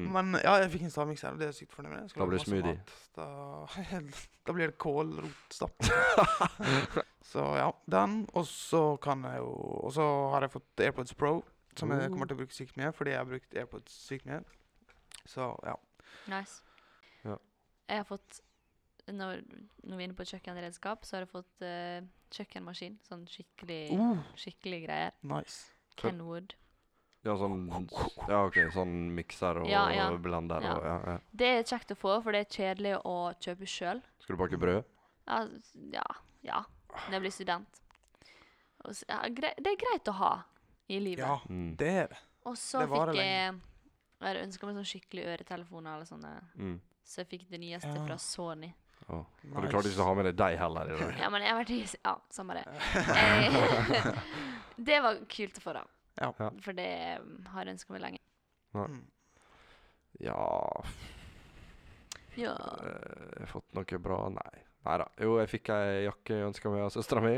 Speaker 3: Mm.
Speaker 1: Men ja, jeg fikk en stavmikser, og det er jeg sykt fornøyd med. Jeg skal
Speaker 3: Da
Speaker 1: lage
Speaker 3: blir
Speaker 1: masse
Speaker 3: smoothie.
Speaker 1: mat. Da, [LAUGHS] da blir det kålrotstapp.
Speaker 3: [LAUGHS]
Speaker 1: så ja, den. Og så kan jeg jo Og så har jeg fått AirPods Pro, som
Speaker 3: Uh.
Speaker 1: jeg kommer til å bruke sykt mye, fordi jeg har brukt AirPods sykt mye. Så ja.
Speaker 2: nice.
Speaker 3: Ja.
Speaker 2: Jeg har fått når, når vi er inne på kjøkkenredskap, så har jeg fått eh, kjøkkenmaskin. Sånn skikkelig,
Speaker 1: Uh,
Speaker 3: Oh.
Speaker 2: skikkelig greier.
Speaker 1: nice.
Speaker 3: Fett.
Speaker 2: Kenwood.
Speaker 3: [LAUGHS] Ja, sånn Ja, OK, sånn mikser og
Speaker 2: Ja, ja.
Speaker 3: blender
Speaker 2: Ja.
Speaker 3: og ja, ja.
Speaker 2: Det er kjekt å få, for det er kjedelig å kjøpe sjøl.
Speaker 3: Skal du
Speaker 1: Mm.
Speaker 3: bake brød?
Speaker 2: Ja, s- ja, ja. Når jeg blir student. Og s- ja, grei, det er greit å ha i livet.
Speaker 1: Ja,
Speaker 3: Mm.
Speaker 1: det er det.
Speaker 2: Og så
Speaker 1: det varer
Speaker 2: fikk jeg Jeg ønska meg sånn skikkelig øretelefoner eller sånne.
Speaker 3: Mm.
Speaker 2: Så jeg fikk det nyeste
Speaker 1: Ja.
Speaker 2: fra Sony.
Speaker 3: Å. Og du
Speaker 1: Nice.
Speaker 3: klarte ikke å ha med deg deg heller
Speaker 2: [LAUGHS]
Speaker 3: i dag.
Speaker 2: Ja, men jeg har vært i Ja, samme
Speaker 1: [LAUGHS]
Speaker 2: det. Eh, [LAUGHS] det var kult å få, da.
Speaker 1: Ja.
Speaker 3: Ja.
Speaker 2: For det um, har jeg ønska meg lenge.
Speaker 1: Mm.
Speaker 3: Ja
Speaker 2: Ja.
Speaker 3: eh, Jeg har fått noe bra Nei. Nei da. Jo, jeg fikk ei jakke jeg ønska meg av søstera mi.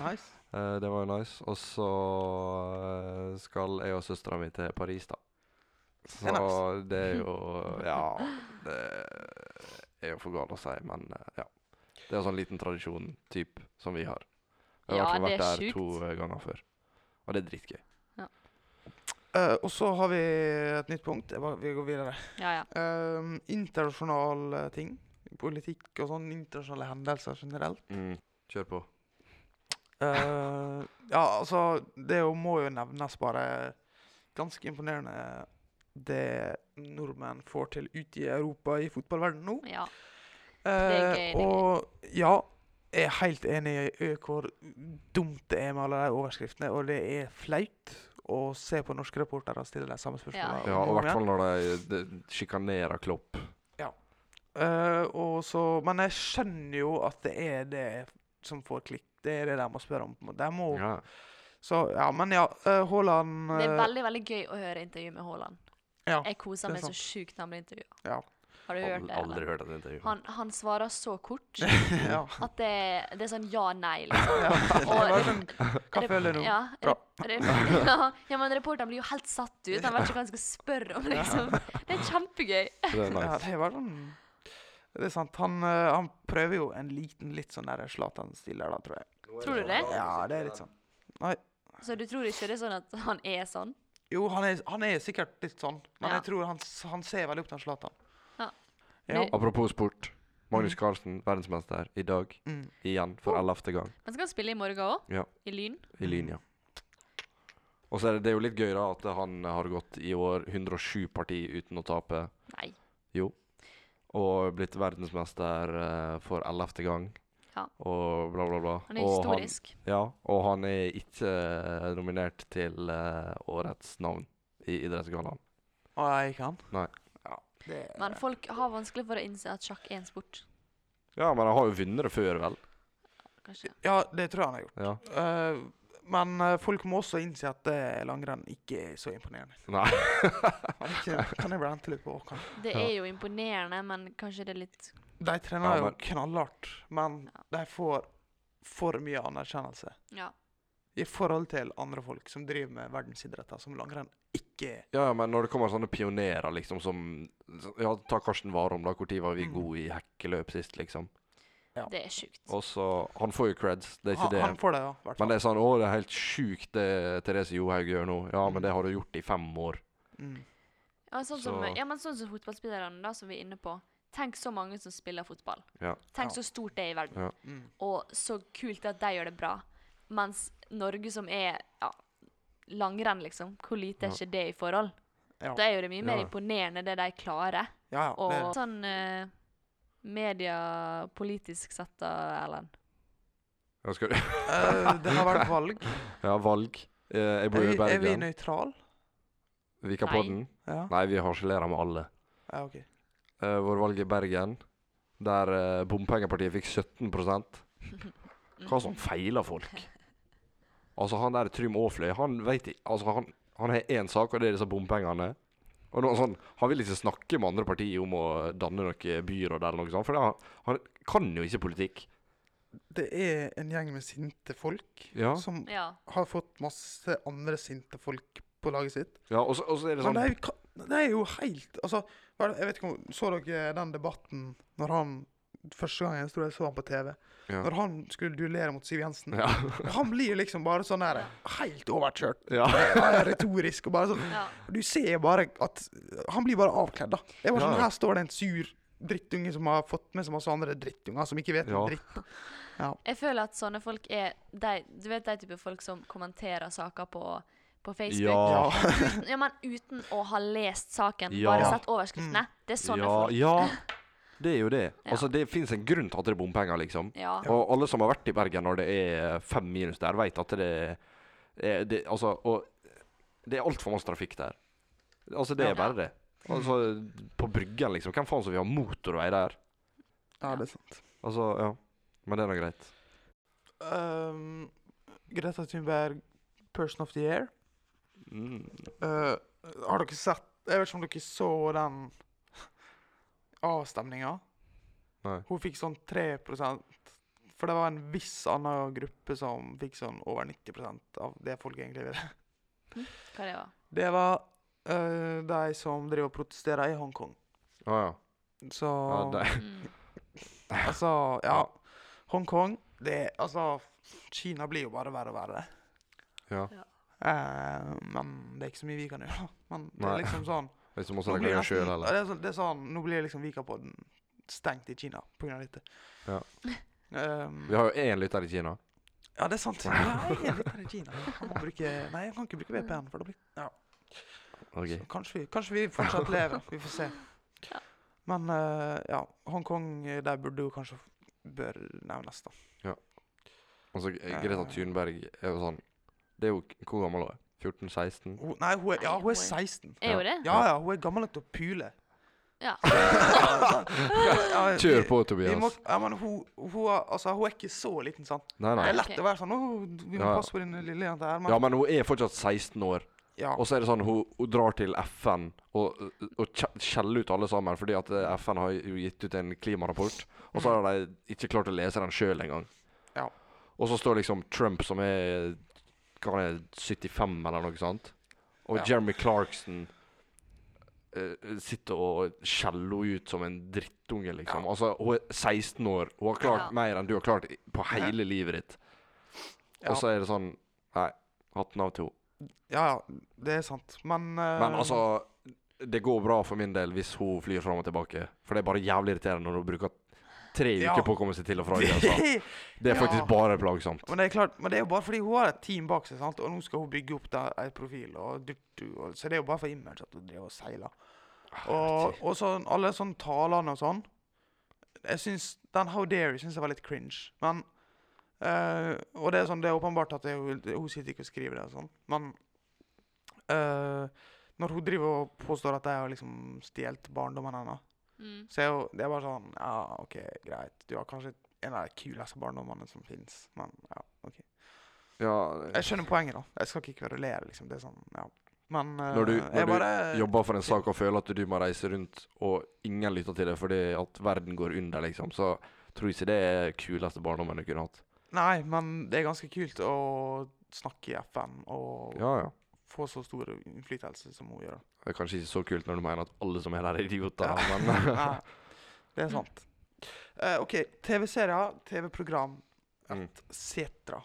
Speaker 1: Nice.
Speaker 3: Eh, det var jo nice. Og så eh, skal jeg og søstera mi til Paris, da. Så
Speaker 1: Det er
Speaker 3: det er
Speaker 2: [LAUGHS]
Speaker 3: jo Ja. Det er jo for galt å si, men eh, ja. Det er jo sånn liten tradisjon typ, som vi har. Jeg har i
Speaker 2: Ja,
Speaker 3: hvert fall
Speaker 2: det er
Speaker 3: vært der
Speaker 2: sjukt.
Speaker 3: to eh, ganger før. Og det er dritgøy.
Speaker 1: Eh, og så har vi et nytt punkt. Det er bare- Vi går videre.
Speaker 2: Ja, ja.
Speaker 1: Ehm, internasjonale ting. Politikk og sånn. Internasjonale hendelser generelt.
Speaker 3: Mm. Kjør på.
Speaker 1: Eh, ja, altså Det jo må jo nevnes bare ganske imponerende det nordmenn får til ute i Europa i fotballverdenen nå.
Speaker 2: ja.
Speaker 1: Eh,
Speaker 2: gøy, det er
Speaker 1: og ja, jeg er helt enig i ø- hvor dumt det er med alle de overskriftene. Og det er flaut å se på norske reportere stille de samme spørsmålene.
Speaker 3: Ja, og i
Speaker 1: om og om
Speaker 3: hvert
Speaker 1: igjen.
Speaker 3: fall når de, de sjikanerer Klopp.
Speaker 1: Eh, og så, men jeg skjønner jo at det er det som får klikk. Det er det de må spørre om. på en måte. De må
Speaker 3: Ja.
Speaker 1: Så ja, men ja. eh, Haaland
Speaker 2: Det er
Speaker 1: eh,
Speaker 2: veldig veldig gøy å høre intervju med Haaland.
Speaker 1: ja.
Speaker 2: Jeg koser
Speaker 1: det er
Speaker 2: meg så
Speaker 1: sant.
Speaker 2: sjukt når han blir intervjua.
Speaker 1: Ja.
Speaker 2: Har du hørt det? eller?
Speaker 3: Aldri hørt et intervju.
Speaker 2: Han, han svarer så kort
Speaker 1: [LAUGHS] [LAUGHS]
Speaker 2: [LAUGHS]
Speaker 1: ja.
Speaker 2: at det, det er sånn
Speaker 1: [LAUGHS]
Speaker 2: ja-nei, liksom.
Speaker 1: ja. Det var sånn, hva
Speaker 2: Rep-
Speaker 1: føler du?
Speaker 2: Ja,
Speaker 1: Bra.
Speaker 2: rep- rep- ja, ja, men reporteren blir jo helt satt ut. Han vet ikke hva han skal spørre om, liksom. Det er kjempegøy.
Speaker 3: Så det er
Speaker 1: Ja,
Speaker 3: nice.
Speaker 1: det var sånn Det er sant. Han, eh, han prøver jo en liten, litt sånn der Zlatan-stil der, da, tror jeg.
Speaker 2: Tror du det?
Speaker 1: Ja, det er litt sånn.
Speaker 2: Så du tror ikke det er sånn at han er sånn?
Speaker 1: Jo, han er, han er sikkert litt sånn, men
Speaker 2: Ja.
Speaker 1: jeg tror han, s- han ser veldig opp til Zlatan.
Speaker 2: Ja. Mm.
Speaker 1: Ja.
Speaker 2: Men-
Speaker 3: Apropos sport. Magnus Carlsen, verdensmester, i dag
Speaker 1: Mm.
Speaker 3: igjen for ellevte gang
Speaker 2: Men skal han spille i morgen òg?
Speaker 3: Ja.
Speaker 2: I Lyn?
Speaker 3: i linja. Og så er det, det er jo litt gøy da at han har gått i år 107 parti uten å tape,
Speaker 2: Nei.
Speaker 3: og blitt verdensmester eh, for ellevte gang,
Speaker 2: Ja.
Speaker 3: og bla, bla, bla.
Speaker 2: Han er
Speaker 3: Og
Speaker 2: historisk.
Speaker 3: ja, og han er ikke eh, nominert til eh, årets navn i Idrettsgallaen.
Speaker 1: Og jeg ikke han?
Speaker 3: Nei.
Speaker 1: Ja, det,
Speaker 2: Men folk har vanskelig for å innse at sjakk er en sport.
Speaker 3: Ja, men han har jo vunnet det før, vel?
Speaker 2: Kanskje.
Speaker 1: ja, det tror jeg han har gjort.
Speaker 3: Ja.
Speaker 1: Eh, men eh, folk må også innse at eh, langrenn ikke er så imponerende.
Speaker 3: Nei. [LAUGHS]
Speaker 1: Kan ikke- kan jeg rante litt på Håkan?
Speaker 2: Det
Speaker 3: Ja.
Speaker 2: er jo imponerende, men kanskje det er litt
Speaker 1: De trener
Speaker 3: Ja,
Speaker 1: jo
Speaker 3: men-
Speaker 1: knallhardt, men de får for mye anerkjennelse
Speaker 2: Ja.
Speaker 1: i forhold til andre folk som driver med verdensidretter, som langrenn ikke er.
Speaker 3: Ja, ja, men når det kommer sånne pionerer, liksom, som så- Ja, ta Karsten Warholm, da. Når var vi
Speaker 1: Mm.
Speaker 3: gode i hekkeløp sist, liksom?
Speaker 1: Ja.
Speaker 2: Det er sjukt.
Speaker 3: Og så Han får jo creds, det er
Speaker 1: Han,
Speaker 3: ikke det.
Speaker 1: han får det, ja. i hvert
Speaker 3: men
Speaker 1: fall.
Speaker 3: det er sånn Å, det er helt sjukt det Therese Johaug gjør nå. Ja, men det har du gjort i fem år.
Speaker 1: Mm.
Speaker 2: Ja, sånn som,
Speaker 3: Så-
Speaker 2: ja, men sånn som fotballspillerne, da, som vi er inne på. Tenk så mange som spiller fotball.
Speaker 3: Ja.
Speaker 2: Tenk
Speaker 1: Ja.
Speaker 2: så stort det er i verden.
Speaker 3: Ja.
Speaker 1: Mm.
Speaker 2: Og så kult at de gjør det bra. Mens Norge, som er ja, langrenn, liksom, hvor lite er
Speaker 3: Ja.
Speaker 2: ikke det i forhold?
Speaker 1: Ja.
Speaker 2: Da er jo det mye mer
Speaker 3: Ja.
Speaker 2: imponerende det de klarer.
Speaker 1: Ja, ja.
Speaker 2: Og
Speaker 1: det er det.
Speaker 2: sånn eh, mediepolitisk sett, da, Erlend.
Speaker 3: Ja, skal du
Speaker 1: Eh, det har vært valg.
Speaker 3: [LAUGHS] Ja, valg. Eh, Jeg bor
Speaker 1: Er
Speaker 3: jo i
Speaker 1: vi, er vi
Speaker 3: Bergen.
Speaker 1: nøytral?
Speaker 3: Vikapodden?
Speaker 1: Ja.
Speaker 3: Nei, vi harselerer med alle.
Speaker 1: ja, OK.
Speaker 3: Eh, Vår valg i Bergen, der eh, bompengepartiet fikk 17 Hva som feiler folk? Altså, han der Trym Aafløy, han vet i- Altså, han, han har én sak, og det er disse bompengene. Og nå, sånn, Han vil ikke snakke med andre partier om å danne noe byråd eller noe sånt, for han, han kan jo ikke politikk.
Speaker 1: Det er en gjeng med sinte folk
Speaker 3: Ja,
Speaker 1: som
Speaker 2: Ja.
Speaker 1: har fått masse andre sinte folk på laget sitt.
Speaker 3: ja og, så, og så er det
Speaker 1: Men
Speaker 3: sånn
Speaker 1: det er, jo ka- det er jo helt Altså, hva er det- jeg vet ikke om Så dere eh, den debatten når han Første gangen jeg tror jeg så han på TV.
Speaker 3: Ja.
Speaker 1: Når han skulle duellere mot Siv Jensen.
Speaker 3: Ja.
Speaker 1: Han blir jo liksom bare sånn der helt overkjørt.
Speaker 3: ja.
Speaker 1: Han er retorisk og bare sånn
Speaker 2: ja.
Speaker 1: Du ser bare at Han blir bare avkledd, da. Jeg var
Speaker 3: Ja,
Speaker 1: sånn,
Speaker 3: ja.
Speaker 1: Her står det en sur drittunge som har fått med seg masse andre drittunger som ikke vet en
Speaker 3: Ja.
Speaker 1: dritt.
Speaker 2: Jeg føler at sånne folk er de, Du vet de type folk som kommenterer saker på, på Facebook?
Speaker 3: Ja.
Speaker 2: Uten, ja, men uten å ha lest saken,
Speaker 3: Ja.
Speaker 2: bare sett overskriftene. Det er
Speaker 1: sånn,
Speaker 2: sånne
Speaker 3: ja,
Speaker 2: folk.
Speaker 3: ja, det er jo det.
Speaker 2: Ja.
Speaker 3: Altså, det fins en grunn til at det er bompenger, liksom.
Speaker 2: Ja.
Speaker 3: Og alle som har vært i Bergen når det er fem minus der, vet at det er det, Altså, og det er altfor masse trafikk der. Altså, det
Speaker 2: Ja.
Speaker 3: er bare det. Altså, på Bryggen, liksom. Hvem faen som vil ha motorvei der?
Speaker 1: Ja, det er sant.
Speaker 3: Altså, ja. Men det er nå greit.
Speaker 1: Um, Greta Thunberg, Person of the Year.
Speaker 3: Mm.
Speaker 1: Eh, har dere sett Jeg vet ikke om dere så den avstemninga?
Speaker 3: Nei.
Speaker 1: Hun fikk sånn 3 For det var en viss annen gruppe som fikk sånn over 90 av det folk egentlig ville.
Speaker 2: Hva det var.
Speaker 1: Det var eh, de som driver og protesterer i Hongkong.
Speaker 3: Å Ah, ja.
Speaker 1: Så
Speaker 3: ja det.
Speaker 2: Mm.
Speaker 1: Altså, ja. Hongkong det, Altså, Kina blir jo bare verre og verre.
Speaker 3: Ja.
Speaker 1: Eh, men det er ikke så mye vi kan gjøre. Men det
Speaker 3: Nei.
Speaker 1: er liksom sånn
Speaker 3: Hvis du må
Speaker 1: nå blir
Speaker 3: snakke
Speaker 1: nesten-
Speaker 3: sjøl, eller?
Speaker 1: det er, sånn, det er sånn Nå blir liksom Vikapodden stengt i Kina pga. dette.
Speaker 3: Ja.
Speaker 1: Ehm,
Speaker 3: Vi har jo én lytter i Kina.
Speaker 1: ja, det er sant. Nei, jeg vet det er Kina. Jeg må bruke, nei, jeg kan ikke bruke VPN, for da blir ja.
Speaker 3: Ok.
Speaker 1: Så kanskje vi, kanskje vi fortsatt lever. Vi får se.
Speaker 2: Ja.
Speaker 1: Men eh, ja, Hongkong eh, der burde jo kanskje bør nevnes, da.
Speaker 3: Og så Greta Thunberg er jo sånn Det er jo Hvor gammel er hun? 14-16?
Speaker 1: Hun, nei, hun er, ja, hun
Speaker 2: Nei,
Speaker 1: er 16.
Speaker 2: Er jo det?
Speaker 1: Ja ja, hun er gammel nok til å
Speaker 3: [LAUGHS]
Speaker 1: pule.
Speaker 2: Ja.
Speaker 1: Ja,
Speaker 3: Kjør på,
Speaker 1: vi- Vi må,
Speaker 3: Tobias.
Speaker 1: ja, men hun, hun, er- altså, hun er ikke så liten, sant.
Speaker 3: Nei,
Speaker 1: Det
Speaker 3: nei.
Speaker 1: er lett
Speaker 2: Ok.
Speaker 1: å være sånn Å, vi må
Speaker 3: Ja, ja.
Speaker 1: passe på den lille jenta her. Men,
Speaker 3: Ja, men hun er fortsatt 16 år.
Speaker 1: ja.
Speaker 3: Og så er det sånn, hun, hun drar til FN og, og kje- skjeller ut alle sammen, fordi at eh, FN har jo gitt ut en klimarapport, og så har de ikke klart å lese den sjøl engang.
Speaker 1: Mhm. Ja.
Speaker 3: Og så står liksom Trump, som er hva han er 75 eller noe sånt, og
Speaker 1: Ja.
Speaker 3: Jeremy Clarkson eh, sitter og skjeller henne ut som en drittunge, liksom. Altså, hun er 16 år, hun har klart
Speaker 2: Ja.
Speaker 3: mer enn du har klart i- på hele livet ditt.
Speaker 1: Ja.
Speaker 3: Og så er det sånn Nei, hatten av til henne.
Speaker 1: ja ja, det er sant. Men, eh,
Speaker 3: Men altså, det går bra for min del hvis hun flyr fram og tilbake. For det er bare jævlig irriterende når hun bruker tre
Speaker 1: Ja.
Speaker 3: uker på å komme seg til
Speaker 1: [LAUGHS]
Speaker 3: og fra USA. Det er faktisk
Speaker 1: Ja.
Speaker 3: bare plagsomt.
Speaker 1: Men det, er klart, men det er jo bare fordi hun har et team bak seg, sant? og nå skal hun bygge opp der, ei profil. Og duttu, og, så det er jo bare for image at hun driver og seiler. Og, og sånn, alle sånne talene og sånn Jeg synes, Den How Dare You syns jeg var litt cringe. Men eh, Og det er sånn, det er åpenbart at det, er hun- hun sitter ikke og skriver det og sånn, men eh, når hun driver og påstår at jeg har liksom stjålet barndommen hennes
Speaker 2: Mm.
Speaker 1: så er jo, det er bare sånn Ja, OK, greit. Du har kanskje en av de kuleste barndommene som fins, men ja, OK.
Speaker 3: Ja,
Speaker 1: Jeg skjønner poenget, da. Jeg skal ikke kverulere, liksom. Det er sånn, ja. Men eh,
Speaker 3: Når du- når
Speaker 1: jeg
Speaker 3: du
Speaker 1: bare
Speaker 3: jobber for en sak og føler at du må reise rundt, og ingen lytter til deg fordi at verden går under, liksom, så tror jeg ikke det er kuleste barndommen du kunne hatt.
Speaker 1: Nei, men det er ganske kult å snakke i FN og
Speaker 3: Ja, ja.
Speaker 1: få så stor innflytelse som hun
Speaker 3: [LAUGHS]
Speaker 1: gjør.
Speaker 3: Det er kanskje ikke så kult når du mener at alle som er der, er idioter.
Speaker 1: Ja.
Speaker 3: Men
Speaker 1: Nei, det er sant. Eh, OK. TV-serier, TV-program,
Speaker 3: Mm. [LAUGHS]
Speaker 1: etc.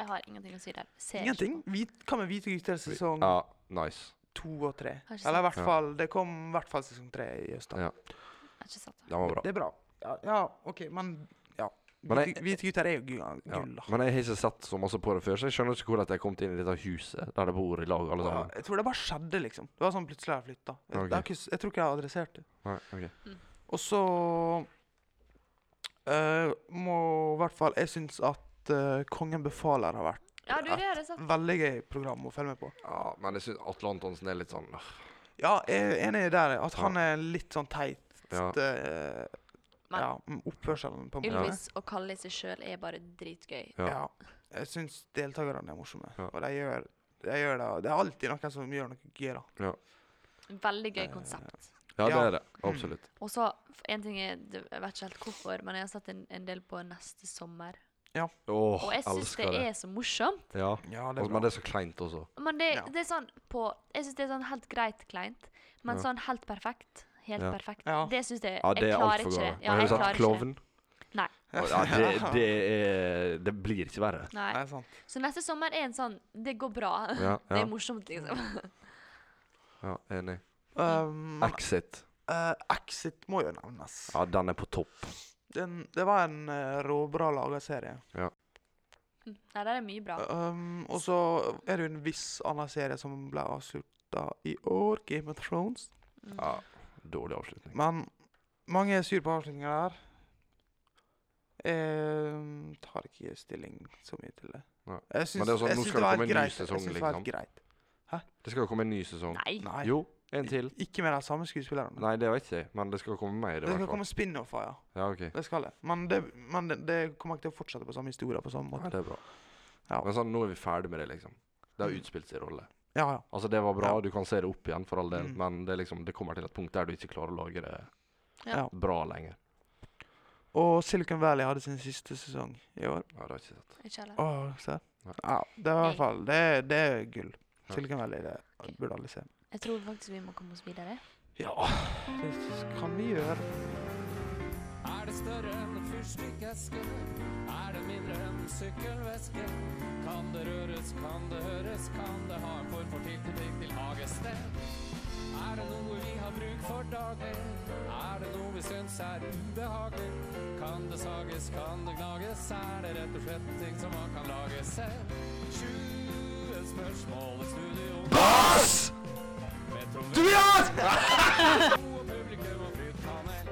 Speaker 2: Jeg har ingenting å si der. Ser ikke
Speaker 1: Ingenting. Hvit, hva med Hvite gutter [LAUGHS] sesong
Speaker 3: ja, nice.
Speaker 1: to og tre?
Speaker 2: Har ikke
Speaker 1: Eller i hvert
Speaker 3: sett.
Speaker 1: fall Det kom i hvert fall sesong tre i høst. da.
Speaker 3: Ja.
Speaker 2: på. Jeg har ikke sett det.
Speaker 3: Den var bra.
Speaker 1: Det er bra. Ja, ja OK, men ja.
Speaker 3: Men jeg-
Speaker 1: Hvite hvite gutter er jo gu-
Speaker 3: Ja.
Speaker 1: gull, da.
Speaker 3: Men jeg har ikke sett så masse på det før, så jeg skjønner ikke hvordan jeg har kommet inn i dette huset der de bor i lag, alle
Speaker 1: Ja,
Speaker 3: sammen.
Speaker 1: jeg tror det bare skjedde, liksom. Det var sånn plutselig har jeg flytta. Jeg,
Speaker 3: Ok.
Speaker 1: det har ikke s- jeg tror ikke jeg har adressert det.
Speaker 3: Nei, ok.
Speaker 1: Og så eh, må i hvert fall Jeg syns at eh, Kongen befaler har vært
Speaker 2: Ja, du, det har jeg sett.
Speaker 1: veldig gøy program å følge med på.
Speaker 3: Ja, men jeg syns Atle Antonsen er litt sånn øh,
Speaker 1: Ja, jeg er enig der at
Speaker 3: Ja.
Speaker 1: han er litt sånn teit.
Speaker 3: Ja.
Speaker 1: eh,
Speaker 2: Men-
Speaker 1: ja, mm, oppførselen, på en måte.
Speaker 2: Ylvis og Kalle i seg sjøl er bare dritgøy.
Speaker 3: Ja.
Speaker 1: Ja. Jeg syns deltakerne er morsomme,
Speaker 3: Ja.
Speaker 1: og de gjør, de gjør det. Det er alltid noen som gjør noe gøy, da.
Speaker 2: Veldig gøy
Speaker 1: Eh,
Speaker 2: konsept.
Speaker 3: Ja, det
Speaker 1: Ja.
Speaker 3: er det.
Speaker 2: Mm.
Speaker 3: Absolutt.
Speaker 2: Og så, f- en ting er, det- jeg vet ikke helt hvorfor, men jeg har sett en, en del på Neste sommer.
Speaker 3: Åh,
Speaker 2: Og jeg syns det
Speaker 3: elsker det.
Speaker 2: er så morsomt.
Speaker 3: Ja.
Speaker 1: Ja, det
Speaker 3: Og-
Speaker 1: er
Speaker 3: Men
Speaker 1: bra.
Speaker 3: det er så kleint også.
Speaker 2: Men det,
Speaker 1: Ja.
Speaker 2: det er sånn på Jeg syns det er sånn helt greit kleint, men
Speaker 3: Ja.
Speaker 2: sånn helt perfekt. Helt
Speaker 3: Ja.
Speaker 2: perfekt.
Speaker 1: Ja.
Speaker 2: Det syns jeg
Speaker 3: Ja, det
Speaker 2: Jeg
Speaker 3: er
Speaker 2: klarer
Speaker 3: altfor
Speaker 2: ikke det.
Speaker 3: galt.
Speaker 2: Ja,
Speaker 3: Har du
Speaker 2: jeg
Speaker 3: sett
Speaker 2: klarer ikke det.
Speaker 3: Klovn?
Speaker 2: Nei.
Speaker 1: [LAUGHS]
Speaker 3: Ja, det, det er [LAUGHS] Det blir ikke verre.
Speaker 2: Nei.
Speaker 1: Nei, sant.
Speaker 2: Så neste sommer er en sånn Det går bra.
Speaker 3: Ja,
Speaker 2: Det
Speaker 3: ja.
Speaker 2: er morsomt, liksom. [LAUGHS]
Speaker 3: ja enig.
Speaker 1: Um,
Speaker 3: Exit.
Speaker 1: Eh, Exit må jo nevnes.
Speaker 3: Ja, den er på topp.
Speaker 1: Den, det var en eh, råbra laga serie.
Speaker 2: Mm. Nei, det er mye bra.
Speaker 1: Um, og så er det jo en viss annen serie som ble avslutta i år, Game of Thrones.
Speaker 2: Mm.
Speaker 3: Ja, Dårlig avslutning.
Speaker 1: Men mange er sur på avslutninga der. Jeg tar ikke stilling så mye til det.
Speaker 3: Nei.
Speaker 1: Jeg syns
Speaker 3: Men det er sånn, nå
Speaker 1: jeg syns
Speaker 3: skal det
Speaker 1: det var helt
Speaker 3: komme en ny
Speaker 1: greit. Jeg
Speaker 3: sesong,
Speaker 1: syns det var helt
Speaker 3: liksom.
Speaker 1: greit.
Speaker 3: Det skal jo komme en ny sesong.
Speaker 2: Nei.
Speaker 1: Nei.
Speaker 3: Jo, en til.
Speaker 1: Ikke med de samme skuespillerne.
Speaker 3: Nei, det vet jeg, men det skal komme mer. i
Speaker 1: det
Speaker 3: hvert
Speaker 1: skal
Speaker 3: fall.
Speaker 1: komme spin-offer, ja.
Speaker 3: Ja, ok.
Speaker 1: Det skal det. Men, det, men det, det kommer ikke til å fortsette på samme historie på samme
Speaker 3: Ja,
Speaker 1: måte.
Speaker 3: det er bra.
Speaker 1: Ja.
Speaker 3: Men sånn, nå er vi ferdig med det, liksom. Det har utspilt sin rolle.
Speaker 1: Ja, ja.
Speaker 3: Altså, det var bra,
Speaker 1: Ja.
Speaker 3: du kan se det opp igjen for all del,
Speaker 1: Mm.
Speaker 3: men det, er liksom, det kommer til et punkt der du ikke klarer å lage det
Speaker 2: Ja.
Speaker 1: Ja.
Speaker 3: bra lenger.
Speaker 1: Og Silicon Valley hadde sin siste sesong i år.
Speaker 3: Ja, det har jeg ikke sett.
Speaker 2: Ikke heller.
Speaker 1: Åh, se.
Speaker 3: Nei.
Speaker 1: Ja, det er i
Speaker 2: Nei.
Speaker 1: hvert fall Det, det er gull.
Speaker 3: Ja.
Speaker 1: Silicon Valley, det
Speaker 2: Ok.
Speaker 1: burde alle se.
Speaker 2: Jeg tror faktisk vi må komme oss videre.
Speaker 1: Ja, det kan vi gjøre.
Speaker 4: Er det større enn en fyrstikkeske? Er det mindre enn en sykkelveske? Kan det røres, kan det høres, kan det ha en form for tilknytning til hagested? Er det noe vi har bruk for daglig? Er det noe vi syns er ubehagelig? Kan det sages, kan det gnages? Er det rett og slett en ting som man kan lage selv? 20 spørsmål i studio.
Speaker 3: Ah!
Speaker 4: Med tromme- og publikum og flytpanel.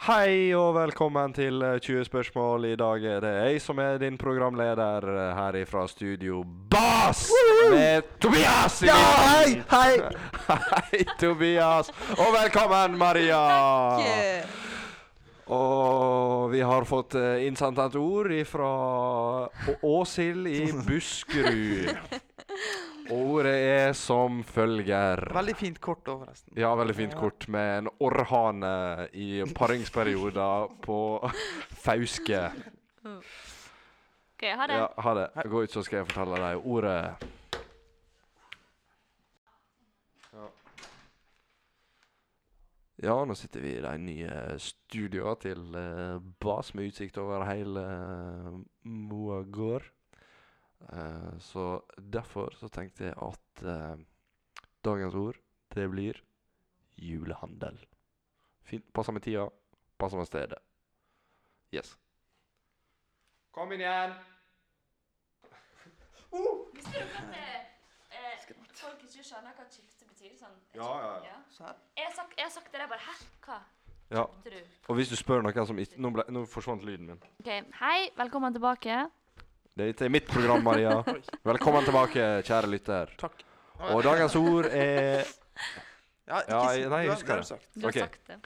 Speaker 3: Hei og velkommen til eh, 20 spørsmål. I dag er det jeg som er din programleder eh, her ifra studio Bass! Med Tobias! i midten. [LAUGHS] Hei, Tobias! Og velkommen, Maria! Og vi har fått eh, innsendt et ord fra Åshild i Buskerud. Ordet er som følger.
Speaker 1: Veldig fint kort òg, forresten.
Speaker 3: Ja, veldig fint kort med en orrhane i paringsperioder på Fauske.
Speaker 2: OK, ha det.
Speaker 3: Ja, ha det. Gå ut, så skal jeg fortelle deg ordet. Ja, ja nå sitter vi i de nye studioene til eh, Bas med utsikt over hele eh, Moa gård. Eh, så derfor så tenkte jeg at eh, dagens ord, det blir julehandel. Fint. Passer med tida, passer med stedet. Yes. Kom inn igjen!
Speaker 2: Visste dere at eh, folk ikke skjønner hva chipse betyr? Sånn,
Speaker 3: Ja, ja,
Speaker 1: Så her.
Speaker 2: Jeg har sagt, jeg har sagt det der bare Hæ? Hva?
Speaker 3: Ja,
Speaker 2: Tror du?
Speaker 3: og hvis du spør noen som ikke Nå, ble, nå forsvant lyden min.
Speaker 2: OK, hei. Velkommen tilbake.
Speaker 3: Dette er mitt program,
Speaker 1: [LAUGHS]
Speaker 3: Maria. Velkommen tilbake, kjære lytter.
Speaker 1: Takk.
Speaker 3: Og dagens ord er
Speaker 1: Ja,
Speaker 3: Ja,
Speaker 1: ikke si-
Speaker 3: jeg- nei, jeg
Speaker 1: du har-
Speaker 3: husker
Speaker 1: du har
Speaker 3: det.
Speaker 1: sagt.
Speaker 2: Du har
Speaker 3: Ok.
Speaker 2: sagt det.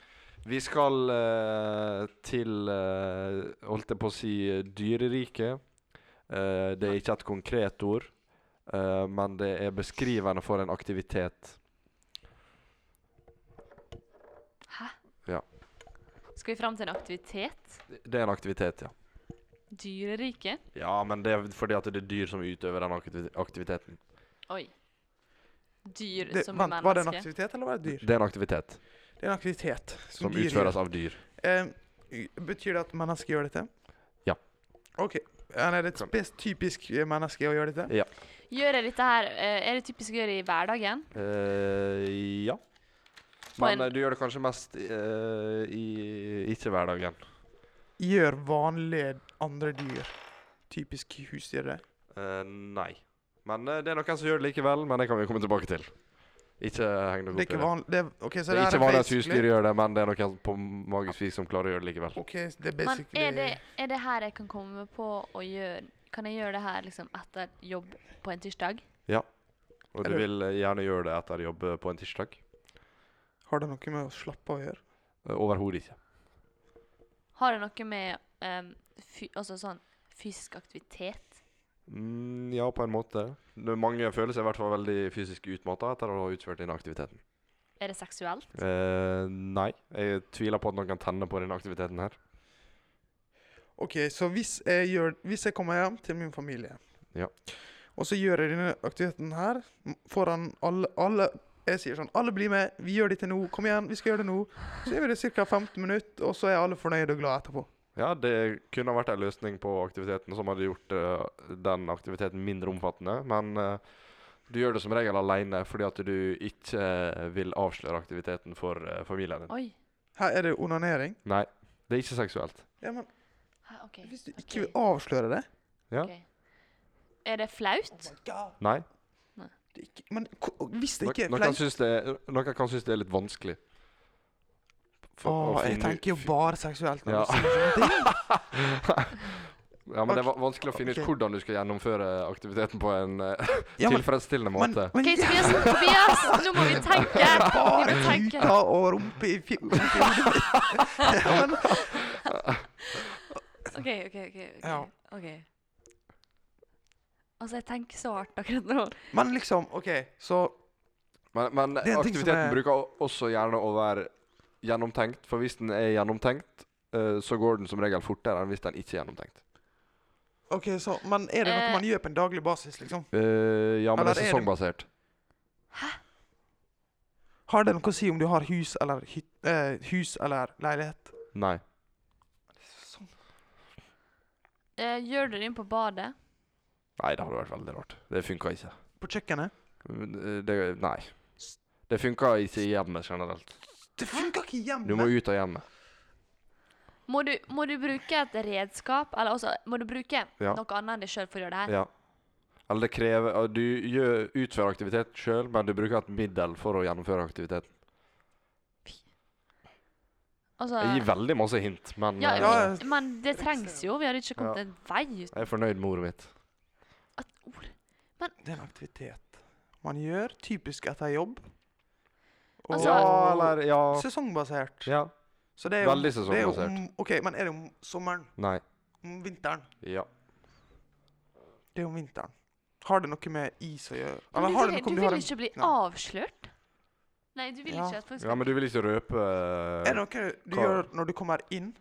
Speaker 3: Vi skal eh, til eh, Holdt jeg på å si eh, dyreriket. Eh, det er ikke et konkret ord, eh, men det er beskrivende for en aktivitet.
Speaker 2: Skal vi fram til en aktivitet?
Speaker 3: Det er en aktivitet, ja.
Speaker 2: Dyreriket?
Speaker 3: Ja, men det er fordi at det er dyr som utøver den aktivi- aktiviteten.
Speaker 2: Oi. Dyr
Speaker 1: Det,
Speaker 2: som
Speaker 1: vent,
Speaker 2: menneske.
Speaker 1: var det en aktivitet, eller var det et dyr?
Speaker 3: Det er en aktivitet
Speaker 1: Det er en aktivitet
Speaker 3: som
Speaker 1: dyr
Speaker 3: utføres
Speaker 1: gjør.
Speaker 3: av dyr.
Speaker 1: Eh, y- betyr det at mennesker gjør dette?
Speaker 3: Ja.
Speaker 1: OK. Ja, nei, det er et
Speaker 3: Kan-
Speaker 1: spes typisk eh, menneske å gjøre dette?
Speaker 2: Gjør jeg dette her, eh, er det typisk å gjøre i hverdagen?
Speaker 3: Eh, ja.
Speaker 2: På
Speaker 3: Men
Speaker 2: en-
Speaker 3: eh, du gjør det kanskje mest eh, i ikke-hverdagen.
Speaker 1: Gjør vanlige andre dyr typisk husdyr det?
Speaker 3: Eh, nei. Men eh, det er noen som gjør det likevel, men det kan vi komme tilbake til. Ikke heng deg
Speaker 1: Det er
Speaker 3: opp i
Speaker 1: ikke
Speaker 3: det.
Speaker 1: vanlig det, er- ok, så
Speaker 3: Det er
Speaker 1: her
Speaker 3: ikke vanlig at
Speaker 1: basically-
Speaker 3: husdyr gjør det, men det er noen på magisk vis som klarer å gjøre det likevel.
Speaker 1: OK, så det er
Speaker 2: Men
Speaker 1: basically
Speaker 2: er det, er det her jeg kan komme på å gjøre Kan jeg gjøre det her liksom etter jobb på en tirsdag?
Speaker 3: Og du
Speaker 1: Eller-
Speaker 3: vil eh, gjerne gjøre det etter jobb eh, på en tirsdag?
Speaker 1: Har det noe med å slappe av å gjøre?
Speaker 3: Eh, Overhodet ikke.
Speaker 2: Har det noe med em, fy, altså sånn fysisk aktivitet?
Speaker 3: Mm, ja, på en måte. Det- Mange føler seg i hvert fall veldig fysisk utmatta etter å ha utført denne aktiviteten.
Speaker 2: Er det seksuelt?
Speaker 3: Eh, nei, jeg tviler på at noen kan tenne på denne aktiviteten her.
Speaker 1: OK, så hvis jeg, gjør, hvis jeg kommer hjem til min familie,
Speaker 3: Ja.
Speaker 1: og så gjør jeg denne aktiviteten her m- foran alle, alle Jeg sier sånn Alle blir med, vi gjør dette nå. Kom igjen, vi skal gjøre det nå. Så gjør vi det ca. 15 minutter, og så er alle fornøyde og glade etterpå.
Speaker 3: Ja, det kunne ha vært en løsning på aktiviteten som hadde gjort eh, den aktiviteten mindre omfattende, men eh, du gjør det som regel alene fordi at du ikke eh, vil avsløre aktiviteten for eh, familien din.
Speaker 2: Oi.
Speaker 1: Her er det onanering.
Speaker 3: Nei, det er ikke seksuelt.
Speaker 1: Ja, men
Speaker 2: Hæ, OK.
Speaker 1: hvis du
Speaker 2: ok,
Speaker 1: ikke vil avsløre det
Speaker 3: Ja.
Speaker 2: ok. Er
Speaker 1: Oh
Speaker 2: det flaut?
Speaker 3: Nei.
Speaker 1: det er ikke, Men ko- og hvis det
Speaker 3: No
Speaker 1: ikke er
Speaker 3: noen,
Speaker 1: flaut
Speaker 3: synes det, er- noen kan synes det er litt vanskelig.
Speaker 1: Å,
Speaker 3: For å
Speaker 1: jeg
Speaker 3: finne ut-
Speaker 1: tenker jo bare seksuelt. Når
Speaker 3: Ja.
Speaker 1: du sier
Speaker 3: [LAUGHS]
Speaker 1: sånne ting.
Speaker 3: Ja, men det er va- vanskelig å finne ut
Speaker 1: Ok.
Speaker 3: hvordan du skal gjennomføre aktiviteten på en eh,
Speaker 1: Ja, men,
Speaker 3: tilfredsstillende
Speaker 1: men,
Speaker 3: måte.
Speaker 2: OK,
Speaker 1: men
Speaker 2: Tobias, Tobias, nå
Speaker 1: [LAUGHS]
Speaker 2: må vi tenke. Vi
Speaker 1: bare
Speaker 2: må tenke.
Speaker 1: puta og rumpe i fjo... ja, men,
Speaker 2: OK, OK. ok. ok,
Speaker 1: Ja.
Speaker 2: ok. Altså, jeg tenker så hardt akkurat nå.
Speaker 1: men liksom, OK, så
Speaker 3: Men, men
Speaker 1: Det er en ting som
Speaker 3: aktiviteten
Speaker 1: er-
Speaker 3: bruker o- også gjerne å være gjennomtenkt, for hvis den er gjennomtenkt, eh, så går den som regel fortere enn hvis den ikke er gjennomtenkt.
Speaker 1: Ok, så, Men er det noe
Speaker 2: Eh.
Speaker 1: man gjør på en daglig basis, liksom?
Speaker 3: Eh, ja, men
Speaker 1: Eller er
Speaker 3: det er
Speaker 1: det-
Speaker 3: sesongbasert.
Speaker 1: Har det noe å si om du har hus eller, hyt, eh, hus eller leilighet?
Speaker 3: Nei.
Speaker 2: Sånn. Eh, gjør du det inn på badet?
Speaker 3: Nei, det hadde vært veldig rart. Det funka ikke.
Speaker 1: På kjøkkenet?
Speaker 3: Men, eh, Det, nei. Det funka ikke i hjemmet generelt.
Speaker 1: Det funker ikke hjemme!
Speaker 3: Du må ut av hjemmet.
Speaker 2: Må du, må du bruke et redskap, eller også, må du bruke
Speaker 3: Ja.
Speaker 2: noe annet enn deg sjøl for å gjøre det her?
Speaker 3: Ja. Eller det krever ah, Du gjør, utfører aktivitet sjøl, men du bruker et middel for å gjennomføre aktiviteten. Jeg gir
Speaker 2: Altså,
Speaker 3: veldig masse hint, men
Speaker 2: ja,
Speaker 3: eh,
Speaker 1: Ja, ja.
Speaker 2: men det trengs jo. Vi hadde ikke kommet
Speaker 3: Ja.
Speaker 2: en vei ut
Speaker 3: jeg er fornøyd med ordet mitt.
Speaker 2: av et ord.
Speaker 1: Det er en aktivitet man gjør, typisk etter jobb. Og
Speaker 2: Altså-
Speaker 3: ja, eller Ja.
Speaker 1: sesongbasert.
Speaker 3: ja.
Speaker 1: Så det er jo,
Speaker 3: Veldig
Speaker 1: det er jo
Speaker 3: sesongbasert.
Speaker 1: om- OK, men er det om sommeren?
Speaker 3: Nei.
Speaker 1: Om vinteren?
Speaker 3: Ja.
Speaker 1: Det er om vinteren. Har det noe med is å gjøre?
Speaker 2: Men
Speaker 1: Eller
Speaker 2: du
Speaker 1: har
Speaker 2: vil,
Speaker 1: det noe om du
Speaker 2: du
Speaker 1: har
Speaker 2: vil
Speaker 1: en
Speaker 2: ikke bli
Speaker 1: Nei.
Speaker 2: avslørt? Nei, du vil
Speaker 1: Ja.
Speaker 2: ikke at folk
Speaker 3: ja,
Speaker 2: skal
Speaker 3: men du vil ikke røpe
Speaker 1: Er det noe du
Speaker 3: Hva-
Speaker 1: gjør når du kommer inn?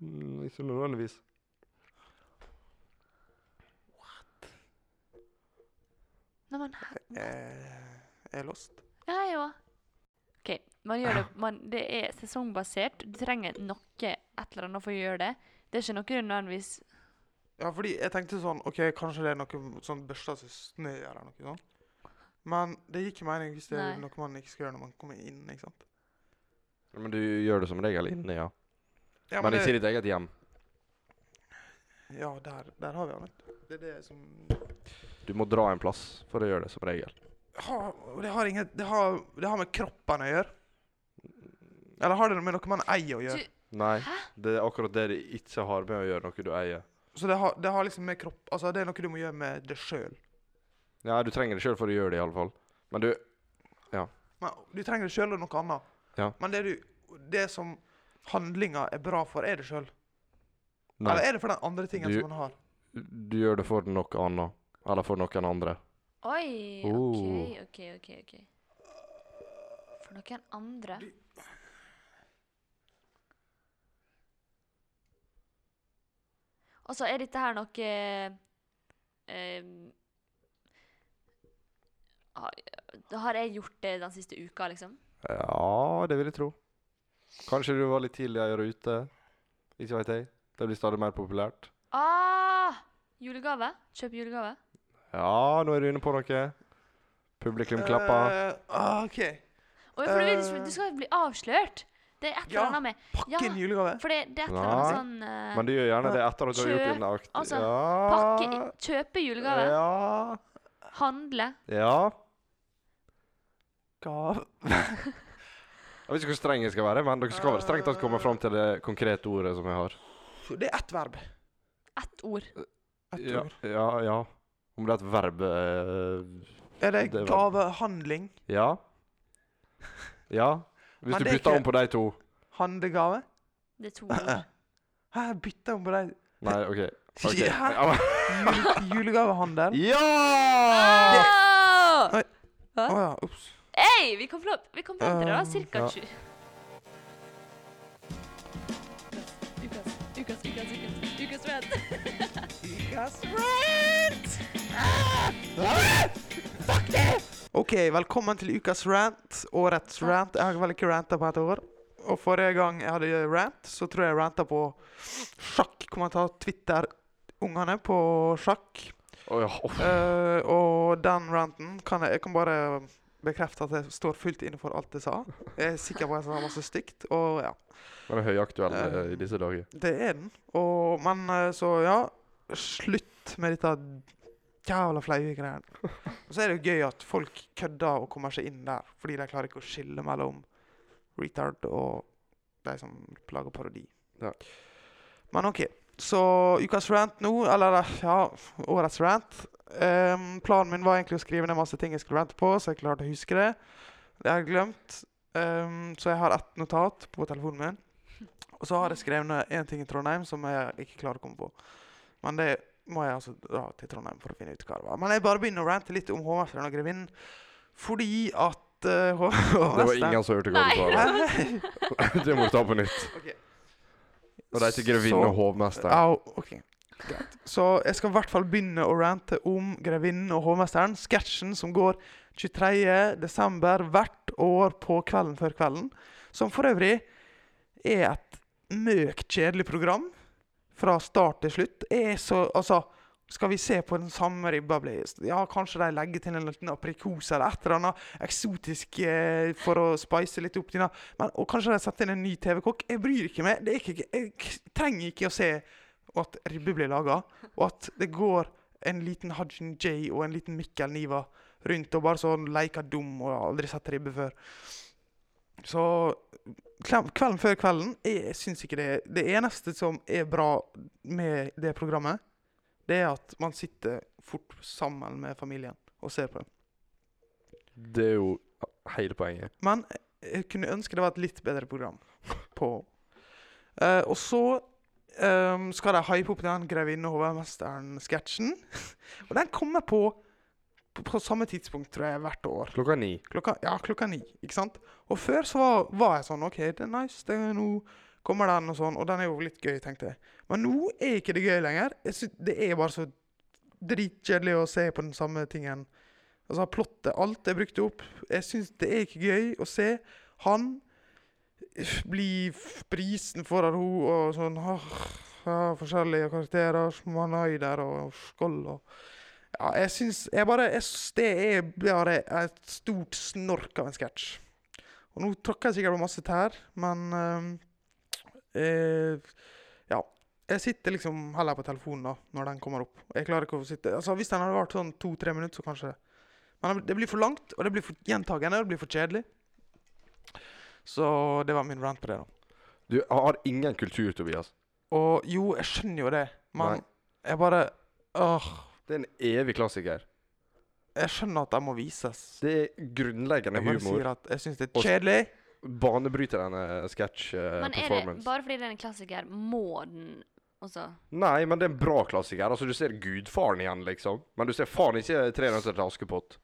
Speaker 3: Mm, Ikke nødvendigvis.
Speaker 2: Nei, men hæ?
Speaker 1: Eh, er jeg lost?
Speaker 2: Ja, jeg òg. OK. Man gjør det, man, det er sesongbasert. Du trenger noe, et eller annet, for å gjøre det. Det er ikke noe du nødvendigvis
Speaker 1: Ja, fordi jeg tenkte sånn OK, kanskje det er noe sånn børsta som snø eller noe sånt. Men det gir ikke mening hvis det er
Speaker 2: Nei.
Speaker 1: noe man ikke skal gjøre når man kommer inn. ikke sant?
Speaker 3: Men du gjør det som regel inne, ja.
Speaker 1: Ja,
Speaker 3: men
Speaker 1: men
Speaker 3: ikke
Speaker 1: det,
Speaker 3: i ditt eget hjem.
Speaker 1: ja der, der har vi han. vet du. Det er det som
Speaker 3: Du må dra en plass for å gjøre det, som regel.
Speaker 1: har, og det, har ingen, det, har, det har med kroppen å gjøre. Eller har det med noe man eier å gjøre?
Speaker 2: Du-
Speaker 3: Nei, det er akkurat det det ikke har med å gjøre noe du eier.
Speaker 1: Så det har, det har liksom med kropp Altså, det er noe du må gjøre med deg sjøl.
Speaker 3: Nei, du trenger det sjøl for å gjøre det, iallfall. Men du
Speaker 1: Du trenger det sjøl og noe annet.
Speaker 3: Ja.
Speaker 1: Men det, du, det som handlinga er bra for, er det sjøl.
Speaker 3: Nei,
Speaker 1: Eller er det for den andre tingen
Speaker 3: Du-
Speaker 1: som man har?
Speaker 3: du gjør det for noe annet. Eller for noen andre.
Speaker 2: Oi, OK,
Speaker 3: Oh.
Speaker 2: OK, OK. ok. For noen andre Altså, er dette her noe eh, ha- Har jeg gjort det den siste uka, liksom?
Speaker 3: Ja, det vil jeg tro. Kanskje du var litt tidligere ute. Ikke veit jeg. Det blir stadig mer populært.
Speaker 2: Ah! Julegave? Kjøp julegave?
Speaker 3: Ja, nå er du inne på noe. Publikum klapper.
Speaker 1: Eh, ah, OK.
Speaker 2: Å, ja, for du, vil, ikke-
Speaker 1: Eh.
Speaker 2: du skal bli avslørt! Det er et
Speaker 1: Ja.
Speaker 2: eller annet med
Speaker 1: Pakke inn
Speaker 2: Ja.
Speaker 1: julegave.
Speaker 2: For det, det er et eller annet
Speaker 3: Nei.
Speaker 2: sånn eh,
Speaker 3: Men du gjør gjerne det etter at du har gjort
Speaker 2: Kjøp,
Speaker 3: din akt.
Speaker 2: altså,
Speaker 3: ja.
Speaker 2: Pakke, i- kjøpe julegave.
Speaker 3: Ja.
Speaker 2: Handle.
Speaker 3: ja.
Speaker 1: Gav.
Speaker 3: Jeg vet ikke hvor streng jeg skal være, men dere skal vel strengt tatt komme fram til det konkrete ordet som jeg har.
Speaker 1: Det er ett verb.
Speaker 2: Ett ord.
Speaker 1: Ett
Speaker 3: Ja,
Speaker 1: ord.
Speaker 3: ja, ja. Om det er et verb eh,
Speaker 1: Er det,
Speaker 3: Det er verb.
Speaker 1: gavehandling?
Speaker 3: Ja. Ja. Hvis
Speaker 1: Men
Speaker 3: du
Speaker 1: det er
Speaker 3: bytter
Speaker 1: ikke-
Speaker 3: om på de to.
Speaker 1: Handlegave?
Speaker 2: Det er to ord.
Speaker 1: Hæ, jeg bytta om på deg.
Speaker 3: Nei, OK. Ok.
Speaker 1: Ja.
Speaker 3: Ja, men-
Speaker 1: Jule, julegavehandel?
Speaker 2: Ah!
Speaker 3: Ja!
Speaker 2: Åh!
Speaker 1: Oi. Å
Speaker 2: Hæ?
Speaker 1: [LAUGHS] ja, ups.
Speaker 2: Hey, vi kom fram vi kom fram til det, da.
Speaker 1: Um,
Speaker 2: Cirka
Speaker 3: ja.
Speaker 2: 20. Ukas, ukas, ukas, ukas, ukas rant.
Speaker 1: Eh, Ah! OK, velkommen til ukas rant. Årets
Speaker 2: Takk.
Speaker 1: rant. Jeg har vel ikke ranta på et år. Og forrige gang jeg hadde rant, så tror jeg jeg ranta på sjakk. Kommer til å ta Twitter-ungene på sjakk.
Speaker 3: Å, ja. Uff.
Speaker 1: Eh, og den ranten kan jeg Jeg kan bare bekrefte at jeg står fullt inne for alt jeg sa. Jeg er sikker på at jeg sa masse stygt. Og ja,
Speaker 3: Den er høyaktuell eh,
Speaker 1: Eh,
Speaker 3: i disse dager.
Speaker 1: det er den. Og, men eh, så, ja. Slutt med dette jævla flaue greiene. Og så er det jo gøy at folk kødder og kommer seg inn der, fordi de klarer ikke å skille mellom retard og de som lager parodi.
Speaker 3: Ja.
Speaker 1: Men OK. Så ukas rant nå, eller eh, ja, årets rant Ehm, Planen min var egentlig å skrive ned masse ting jeg skulle rante på, så jeg klarte å huske det. Det har jeg glemt. Ehm, så jeg har ett notat på telefonen min. Og så har jeg skrevet ned én ting i Trondheim som jeg ikke klarer å komme på. Men det må jeg altså dra til Trondheim for å finne ut hva det var. Men jeg bare begynner å rante litt om Hovmesteren og grevinnen. Fordi at eh, Hov-
Speaker 3: Det var
Speaker 1: Hovmesteren
Speaker 3: ingen som hørte hva du sa. [LAUGHS] der. Det må du ta på nytt.
Speaker 1: Ok.
Speaker 3: Og de heter grevinne og hovmester.
Speaker 1: Au, ok. Greit. Så jeg skal i hvert fall begynne å rante om grevinnen og hovmesteren. Sketsjen som går 23. desember hvert år på Kvelden før kvelden. Som for øvrig er et møk kjedelig program fra start til slutt. Er så, altså, skal vi se på den samme ribba? blir- Ja, kanskje de legger til en liten aprikose eller et eller annet eksotisk eh, for å spice litt opp denne. Men, og kanskje de setter inn en ny TV-kokk. Jeg bryr ikke meg. Det er ikke, jeg k- trenger ikke å se at ribbe blir laga, og at det går en liten Hajin J og en liten Mikkel Niva rundt og bare sånn leker dum og har aldri sett ribbe før. Så klem- Kvelden før kvelden Jeg syns ikke det Det eneste som er bra med det programmet, det er at man sitter fort sammen med familien og ser på det.
Speaker 3: Det er jo hele poenget.
Speaker 1: Men jeg eh, kunne ønske det var et litt bedre program på Eh, Og så ehm, skal de hype opp den Grevinne og HV-mesteren-sketsjen. [LAUGHS] og den kommer på, på på samme tidspunkt, tror jeg, hvert år.
Speaker 3: Klokka ni.
Speaker 1: Klokka, ja, klokka ni, ikke sant? Og før så var, var jeg sånn, ok, det er nice, det er nå kommer den og sånn, og den er jo litt gøy, tenkte jeg. Men nå er ikke det gøy lenger. Jeg synes, det er bare så dritkjedelig å se på den samme tingen. Altså, plottet, alt er brukt opp. Jeg synes det er ikke gøy å se. Han f- blir f- prisen foran henne, og sånn, «Åh, ja, forskjellige karakterer, smanøyder og skål og... Ja, jeg syns jeg bare, jeg, syns Det er bare et stort snork av en sketsj. Og nå tråkker jeg sikkert på masse tær, men eh, eh, Ja. Jeg sitter liksom heller på telefonen da, når den kommer opp. Jeg klarer ikke å sitte Altså, Hvis den hadde vart sånn to-tre minutter, så kanskje Men det blir for langt, og det blir for gjentagende, og det blir for kjedelig. Så det var min rant på det, da.
Speaker 3: Du jeg har ingen kultur, Tobias.
Speaker 1: Og jo, jeg skjønner jo det, men
Speaker 3: Nei.
Speaker 1: jeg bare Åh.
Speaker 3: Det er en evig klassiker.
Speaker 1: Jeg skjønner at den må vises.
Speaker 3: Det er grunnleggende
Speaker 1: Jeg bare
Speaker 3: humor. eh,
Speaker 1: sier at jeg syns det
Speaker 3: Og
Speaker 1: er
Speaker 3: s-
Speaker 1: kjedelig.
Speaker 3: Banebrytende
Speaker 2: Men er det
Speaker 3: sketsj-performance.
Speaker 2: bare fordi det er en klassiker, må den også
Speaker 3: Nei, men det er en bra klassiker. Altså, Du ser gudfaren igjen, liksom. Men du ser faen ikke Tre nøtter til Askepott.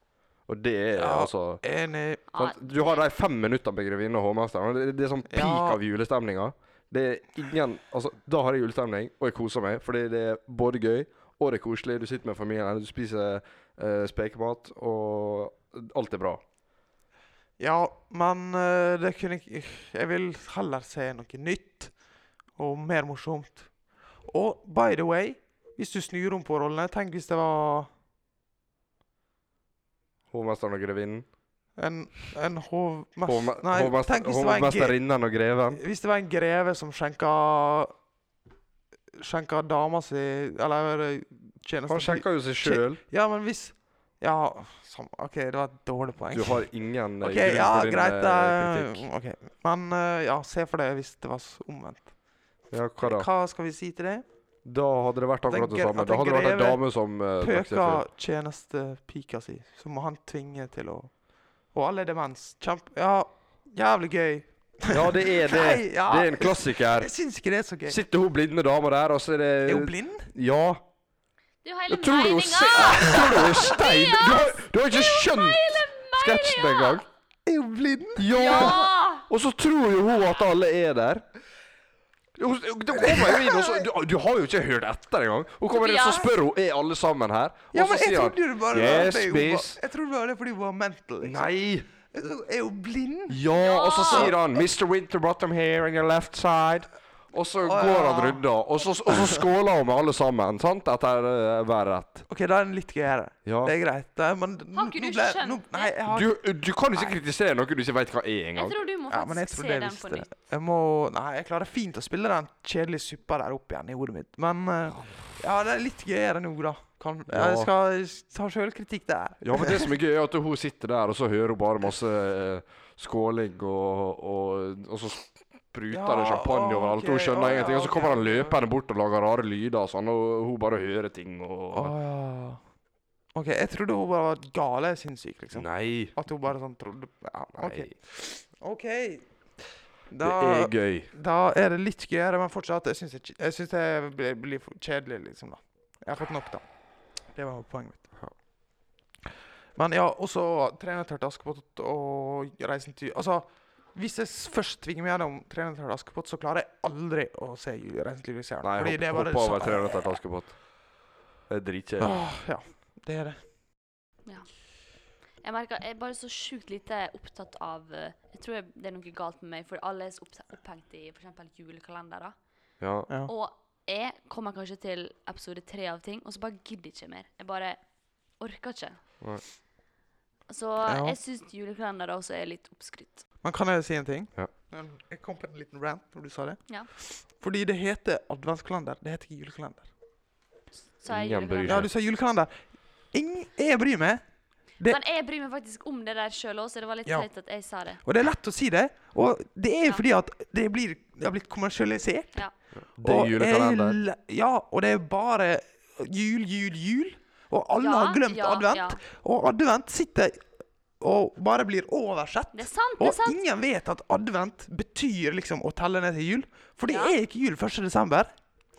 Speaker 3: Og det er
Speaker 1: Ja.
Speaker 3: altså
Speaker 1: Enig.
Speaker 2: Ja,
Speaker 3: sant? Du har de fem minuttene med Grevinne og hovmesteren. og Det, det er sånn peak
Speaker 1: Ja.
Speaker 3: av julestemninga. Det er ingen Altså, da har jeg julestemning, og jeg koser meg. Fordi det er både gøy, og det er koselig. Du sitter med familien, du spiser eh, spekemat, og alt er bra.
Speaker 1: Ja, men eh, det kunne ikke Jeg vil heller se noe nytt og mer morsomt. Og by the way, hvis du snur om på rollene Tenk hvis det var
Speaker 3: Hovmesteren og grevinnen.
Speaker 1: en, en hovmest...
Speaker 3: Hovme-
Speaker 1: Nei,
Speaker 3: hovmest-
Speaker 1: tenk hvis det var en ge-
Speaker 3: Hovmesterinnen og greven.
Speaker 1: Hvis det var en greve som skjenka Skjenka dama si Eller eh,
Speaker 3: Han
Speaker 1: tjenesten
Speaker 3: sjekker jo seg sjøl.
Speaker 1: Ja, men hvis Ja, sam, OK, det var et dårlig poeng.
Speaker 3: Du har ingen eh,
Speaker 1: OK,
Speaker 3: grunn
Speaker 1: ja,
Speaker 3: for din
Speaker 1: greit.
Speaker 3: eh,
Speaker 1: eh,
Speaker 3: kritikk.
Speaker 1: ok. Men eh, ja, se for deg hvis det var s- omvendt.
Speaker 3: Ja, hva da?
Speaker 1: Hva skal vi si til det?
Speaker 3: Da hadde det vært akkurat det
Speaker 1: Tenker-
Speaker 3: samme.
Speaker 1: at
Speaker 3: Da
Speaker 1: en
Speaker 3: hadde det vært en
Speaker 1: greve
Speaker 3: dame som eh, drakk seg full.
Speaker 1: Pøker tjenestepika si, så må han tvinge til å Og alle er demens. Kjempe... Ja, jævlig gøy.
Speaker 3: Ja, det
Speaker 1: [LAUGHS]
Speaker 3: er det.
Speaker 1: Nei, ja.
Speaker 3: Det er en klassiker.
Speaker 1: Jeg syns ikke det er så gøy.
Speaker 3: Sitter hun blinde dama der, og så er det
Speaker 1: Er hun blind?
Speaker 3: Ja.
Speaker 2: Det er jo hele
Speaker 3: Jeg tror du hun ser
Speaker 2: meninga!
Speaker 3: Tror du hun er stein? Du har, du har ikke skjønt sketsjen engang.
Speaker 1: Er hun blind?
Speaker 3: Ja!
Speaker 2: Ja!
Speaker 3: Og så tror jo hun at alle er der. Hun- Da kommer jo inn, og så, du, du har jo ikke hørt etter engang. Hun kommer inn og
Speaker 2: Tobias.
Speaker 3: spør hun er alle sammen her.
Speaker 1: Ja,
Speaker 3: Og så
Speaker 1: men jeg
Speaker 3: sier han
Speaker 1: trodde det bare var
Speaker 3: Yes,
Speaker 1: fordi hun var,
Speaker 3: miss.
Speaker 1: jeg trodde det var det fordi hun var mental. Liksom.
Speaker 3: Nei.
Speaker 1: Jeg trodde- Er hun blind?
Speaker 3: Ja, og så sier han 'Mr. Winterbottom here on your left side'. Og så går han
Speaker 1: ja.
Speaker 3: runder, og så, og så skåler han med alle sammen, sant? Etter eh, hver rett.
Speaker 1: OK, da er den litt gøyere.
Speaker 3: Ja.
Speaker 1: Det er greit. Da, men n-
Speaker 2: Har ikke
Speaker 1: nå
Speaker 2: du
Speaker 1: ble-
Speaker 2: skjønt
Speaker 1: nå-
Speaker 2: det?
Speaker 1: Nei, jeg har
Speaker 3: Du, du kan jo ikke kritisere noe du ikke veit hva er
Speaker 2: Jeg
Speaker 3: engang.
Speaker 2: tror du må
Speaker 1: Ja, men jeg
Speaker 2: faktisk
Speaker 1: tror
Speaker 2: se
Speaker 1: det
Speaker 2: den på
Speaker 1: visste
Speaker 2: nytt.
Speaker 1: jeg. Jeg må Nei, jeg klarer fint å spille den kjedelige suppa der opp igjen i hodet mitt. Men eh, ja, det er litt gøyere nå, da. Kan, ja. Jeg
Speaker 3: Ja.
Speaker 1: skal ta sjølkritikk der.
Speaker 3: Ja, men det som er gøy, er at hun sitter der, og så hører hun bare masse eh, skåling, og, og, og så spruter
Speaker 1: Ja,
Speaker 3: det champagne overalt.
Speaker 1: ok,
Speaker 3: Hun skjønner
Speaker 1: å, ja,
Speaker 3: ingenting. Og så
Speaker 1: ok,
Speaker 3: kommer han
Speaker 1: ok.
Speaker 3: løpende bort og lager rare lyder og sånn, og hun bare hører ting
Speaker 1: Å
Speaker 3: og
Speaker 1: ja. OK, jeg trodde hun bare var gale sinnssyk, liksom.
Speaker 3: Nei.
Speaker 1: At hun bare sånn trodde Ja, OK.
Speaker 3: Ah, Nei.
Speaker 1: OK.
Speaker 3: Det
Speaker 1: Da,
Speaker 3: er gøy.
Speaker 1: da er det litt gøyere, men fortsatt Jeg syns det, jeg synes det blir, blir for kjedelig, liksom, da. Jeg har fått nok, da. Det var poenget mitt. Men ja, også 'Trenetørt Askepott' og 'Reisen til Altså, hvis jeg s- først tvinger meg gjennom 'Trenetørt Askepott', så klarer jeg aldri å se ju- 'Reisen til julestjernen'.
Speaker 3: Nei,
Speaker 1: fordi
Speaker 3: hopp,
Speaker 1: det Ah. er bare
Speaker 3: hopp over
Speaker 1: så-
Speaker 3: 300 til Askepott. Det er dritkjedelig.
Speaker 1: Åh, Ja, det er det.
Speaker 2: Jeg merker, jeg er bare så sjukt lite opptatt av eh, Jeg tror jeg- det er noe galt med meg, for alle er så oppta- opphengt i for eksempel julekalendere.
Speaker 3: Ja.
Speaker 1: Ja.
Speaker 2: Og jeg kommer kanskje til episode tre av ting, og så bare gidder jeg ikke mer. Jeg bare orker ikke.
Speaker 3: Nei.
Speaker 2: Så
Speaker 1: Ja.
Speaker 2: jeg syns julekalendere også er litt oppskrytt.
Speaker 1: Men kan jeg si en ting?
Speaker 3: Ja.
Speaker 1: Um, Jeg kom på en liten rant når du sa det.
Speaker 2: Ja.
Speaker 1: Fordi det heter adventskalender. Det heter ikke julekalender.
Speaker 2: Så er
Speaker 3: Ingen bryr seg.
Speaker 2: julekalender-
Speaker 1: Ja, du sa julekalender. Ingen, jeg bryr meg. Det-
Speaker 2: Men jeg bryr meg faktisk om det der sjøl òg, så det var litt
Speaker 1: Ja.
Speaker 2: teit at jeg sa det.
Speaker 1: Og det er lett å si det. Og det er
Speaker 2: Ja.
Speaker 1: fordi at det, blir, det har blitt kommersialisert.
Speaker 2: Ja.
Speaker 3: Det
Speaker 1: og
Speaker 3: er julekalender.
Speaker 1: jeg l- Ja, og det er bare jul, jul, jul. Og alle
Speaker 2: Ja,
Speaker 1: har glemt
Speaker 2: ja,
Speaker 1: advent.
Speaker 2: ja.
Speaker 1: Og advent sitter og bare blir oversett.
Speaker 2: Det er sant, det
Speaker 1: Og
Speaker 2: er sant.
Speaker 1: ingen vet at advent betyr liksom å telle ned til jul. For det
Speaker 2: Ja.
Speaker 1: er ikke jul 1. desember.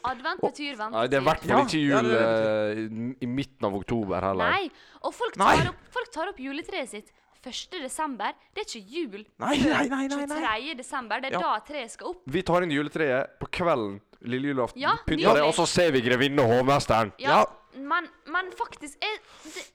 Speaker 2: Advent betyr ventetid.
Speaker 3: Nei, det er i hvert fall
Speaker 1: Ja,
Speaker 3: ikke
Speaker 1: ja,
Speaker 3: jul
Speaker 1: det er
Speaker 3: eh, i- i midten av oktober heller.
Speaker 2: Nei. Og folk
Speaker 1: Nei.
Speaker 2: tar, opp, folk tar opp juletreet sitt 1. desember. Det er ikke jul [LAUGHS]
Speaker 1: Nei,
Speaker 2: før
Speaker 1: nei, nei, nei, nei.
Speaker 2: 23. desember. Det
Speaker 1: Ja.
Speaker 2: er da treet skal opp.
Speaker 3: Vi tar inn juletreet på kvelden lille julaften,
Speaker 2: Ja,
Speaker 3: pynter
Speaker 2: nydelig.
Speaker 3: det, og så ser vi grevinne og hovmesteren.
Speaker 2: Ja,
Speaker 1: Ja.
Speaker 2: Men, men faktisk er, det,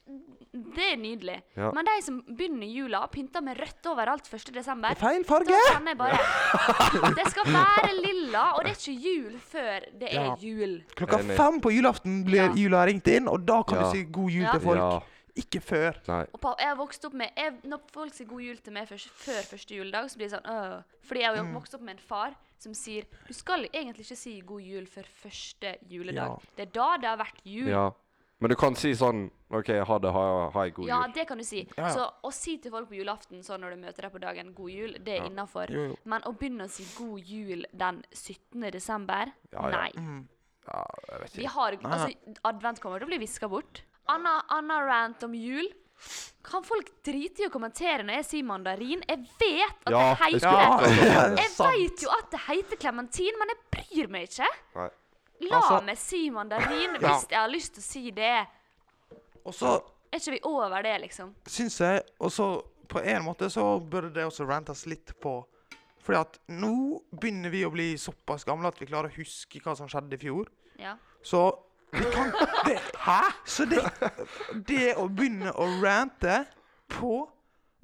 Speaker 2: det er nydelig.
Speaker 3: Ja.
Speaker 2: Men de som begynner jula og pynter med rødt overalt 1.
Speaker 1: Det
Speaker 2: desember
Speaker 1: er feil farge!
Speaker 2: da kjenner jeg bare Det skal være lilla, og det er ikke jul før det er
Speaker 1: Ja.
Speaker 2: jul.
Speaker 1: Klokka
Speaker 3: Enig.
Speaker 1: fem på julaften blir
Speaker 2: Ja.
Speaker 1: jula ringt inn, og da kan
Speaker 3: Ja.
Speaker 1: du si god jul
Speaker 2: Ja.
Speaker 1: til folk.
Speaker 3: Ja.
Speaker 1: Ikke før.
Speaker 3: Nei.
Speaker 2: Og pa, jeg har vokst opp med jeg, Når folk sier god jul til meg først, før første juledag, så blir det sånn øh. Fordi jeg har
Speaker 1: Mm.
Speaker 2: jo vokst opp med en far som sier Du skal egentlig ikke si god jul før første juledag.
Speaker 1: Ja.
Speaker 2: Det er da det har vært
Speaker 1: Mm.
Speaker 2: jul. Ja,
Speaker 3: Ja. Men du kan si sånn OK, ha det, ha, ha ei god jul.
Speaker 2: det kan du si.
Speaker 1: Ja, ja.
Speaker 2: Så å si til folk på julaften sånn når du møter dem på dagen, god jul, det er innafor.
Speaker 1: Jo, jo.
Speaker 2: Men å begynne å si god jul den 17. desember,
Speaker 3: Ja, ja.
Speaker 2: nei.
Speaker 3: Ja, jeg vet
Speaker 2: Vi
Speaker 3: ikke.
Speaker 2: har,
Speaker 1: Nei, nei.
Speaker 2: altså, advent kommer til å bli viska bort. Anna, Anna rant om jul. Kan folk drite i å kommentere når jeg sier mandarin? Jeg vet at
Speaker 3: Ja,
Speaker 2: det
Speaker 3: det
Speaker 2: heter
Speaker 3: skulle
Speaker 1: jeg akkurat si. [LAUGHS]
Speaker 2: [LAUGHS] Jeg
Speaker 1: Sant.
Speaker 2: vet jo at det heter klementin, men jeg bryr meg ikke.
Speaker 3: Nei.
Speaker 2: La
Speaker 1: Altså-
Speaker 2: meg si mandarin
Speaker 1: Ja.
Speaker 2: hvis jeg har lyst til å si det.
Speaker 1: Og så
Speaker 2: Er ikke vi over det, liksom?
Speaker 1: syns jeg Og så på en måte så burde det også rantes litt på. Fordi at nå begynner vi å bli såpass gamle at vi klarer å huske hva som skjedde i fjor.
Speaker 2: Ja.
Speaker 1: Så vi kan
Speaker 3: [LAUGHS]
Speaker 1: det, Hæ?! Så det, det å begynne å rante på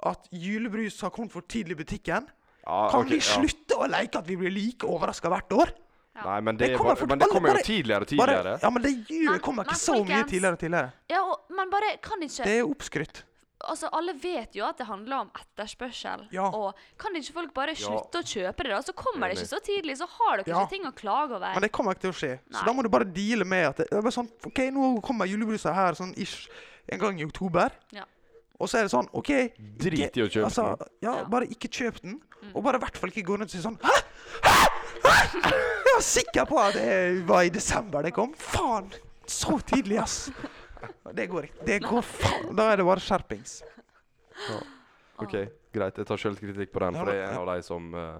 Speaker 1: at julebrus har kommet for tidlig i butikken
Speaker 3: Ja,
Speaker 1: Kan
Speaker 3: ok,
Speaker 1: vi
Speaker 3: ja.
Speaker 1: slutte å leke at vi blir like overraska hvert år?
Speaker 3: Nei, men det,
Speaker 1: Det
Speaker 3: er
Speaker 1: kommer
Speaker 3: bare-
Speaker 1: for-
Speaker 3: men det
Speaker 1: alle
Speaker 3: kommer jo
Speaker 1: bare-
Speaker 3: tidligere og
Speaker 1: Bare,
Speaker 3: tidligere.
Speaker 1: ja, men det
Speaker 2: Men-
Speaker 1: julet kommer
Speaker 2: men
Speaker 1: ikke så mye
Speaker 2: folkens-
Speaker 1: tidligere og tidligere.
Speaker 2: ja og, men bare kan ikke
Speaker 1: Det er oppskrytt.
Speaker 2: Altså, alle vet jo at det handler om etterspørsel.
Speaker 1: Ja.
Speaker 2: Og kan ikke folk bare
Speaker 3: Ja.
Speaker 2: slutte å kjøpe det, da? Så kommer det
Speaker 3: Enig.
Speaker 2: ikke så tidlig, så har dere
Speaker 1: Ja.
Speaker 2: ikke ting å klage over.
Speaker 1: Men det kommer ikke til å skje.
Speaker 2: Nei.
Speaker 1: Så da må du bare deale med at det, det er bare sånn, OK, nå kommer julebrusa her sånn ish en gang i oktober.
Speaker 2: Ja.
Speaker 1: Og så er det sånn OK
Speaker 3: Drit i å kjøpe
Speaker 1: altså,
Speaker 3: den.
Speaker 1: Ja,
Speaker 2: Ja.
Speaker 1: bare ikke kjøp den. Og bare i hvert fall ikke gå rundt og si sånn Hæ? Hæ? Hæ? Jeg var sikker på at det var i desember det kom. Faen! Så tidlig, ass. Det går ikke. Det går faen. Da er det bare skjerpings.
Speaker 3: OK, greit. Jeg tar selvkritikk på den,
Speaker 1: Ja,
Speaker 3: for jeg
Speaker 1: men-
Speaker 3: er en av de som
Speaker 1: [LAUGHS]
Speaker 3: eh,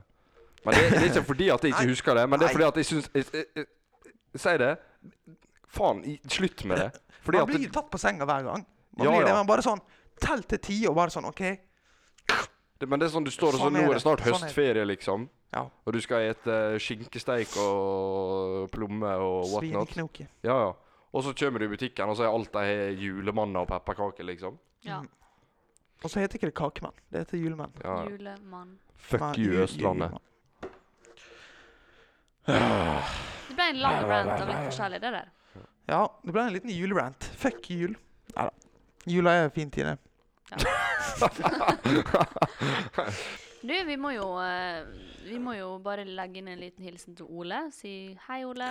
Speaker 3: Men det, det er ikke fordi at jeg ikke husker det, men det er fordi at jeg syns jeg- jeg- jeg- Si det. Faen, i- slutt med
Speaker 1: [LAUGHS]
Speaker 3: det. Fordi
Speaker 1: Man
Speaker 3: at
Speaker 1: blir
Speaker 3: det,
Speaker 1: jo tatt på senga hver gang. Man
Speaker 3: Ja,
Speaker 1: blir det,
Speaker 3: ja.
Speaker 1: men bare sånn Tell til ti, og bare sånn OK.
Speaker 3: det, Men det er sånn du står og så
Speaker 1: Sånn er
Speaker 3: Nå er
Speaker 1: det.
Speaker 3: det snart
Speaker 1: Sånn er det.
Speaker 3: høstferie, liksom.
Speaker 1: Ja.
Speaker 3: Og du skal ete eh, skinkesteik og plomme og whatnot.
Speaker 1: Svineknoke.
Speaker 3: Ja, ja. Og så kommer du i butikken, og så er alt de har julemanner og pepperkaker, liksom.
Speaker 2: Ja.
Speaker 1: Mm. Og så heter ikke det kakemann. Det heter julemann.
Speaker 3: Ja. ja.
Speaker 2: Julemann.
Speaker 1: Nei,
Speaker 3: Fuck you,
Speaker 1: ju-
Speaker 3: Østlandet.
Speaker 1: julemann.
Speaker 2: Det ble en lang rant av litt forskjellig, det der.
Speaker 1: Ja, det ble en liten julerant. Fuck jul. Nei da. Jula er en fin tid, det.
Speaker 2: Du, vi må jo eh, Vi må jo bare legge inn en liten hilsen til Ole. Si hei, Ole.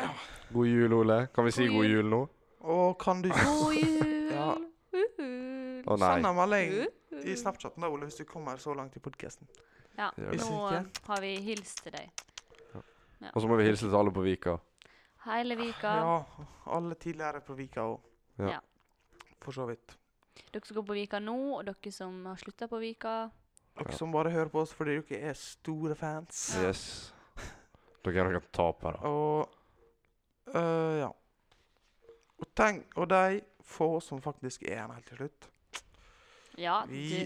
Speaker 3: God jul, Ole. Kan vi si
Speaker 2: God
Speaker 3: god
Speaker 2: jul.
Speaker 3: jul nå?
Speaker 1: Og kan du
Speaker 2: God jul!
Speaker 1: [LAUGHS] Ja.
Speaker 2: Uhul.
Speaker 3: Å
Speaker 1: sende
Speaker 3: nei.
Speaker 1: en melding i Snapchaten da, Ole, hvis du kommer så langt i podkasten?
Speaker 2: Ja,
Speaker 3: Gjør
Speaker 1: det.
Speaker 2: nå eh, har vi hilst til deg.
Speaker 3: Og så må vi hilse til alle på Vika.
Speaker 2: Hele Vika.
Speaker 1: Ja. Alle tidligere på Vika òg.
Speaker 3: Ja.
Speaker 2: Ja.
Speaker 1: For så vidt.
Speaker 2: Dere som går på Vika nå, og dere som har slutta på Vika.
Speaker 1: Dere som bare hører på oss fordi dere er store fans.
Speaker 3: Yes. Dere er noen tapere.
Speaker 1: Og øh, ja. Og tenk, og de få som faktisk er her helt til slutt
Speaker 2: Ja,
Speaker 1: Vi-
Speaker 2: du.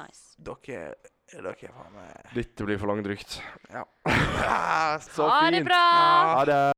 Speaker 2: Nice.
Speaker 1: Dere dere
Speaker 3: [LAUGHS]
Speaker 1: er faen meg
Speaker 3: Dette blir for langdrygt.
Speaker 1: Ja.
Speaker 3: Så
Speaker 2: ha det
Speaker 3: fint.
Speaker 2: bra!
Speaker 3: Ha det.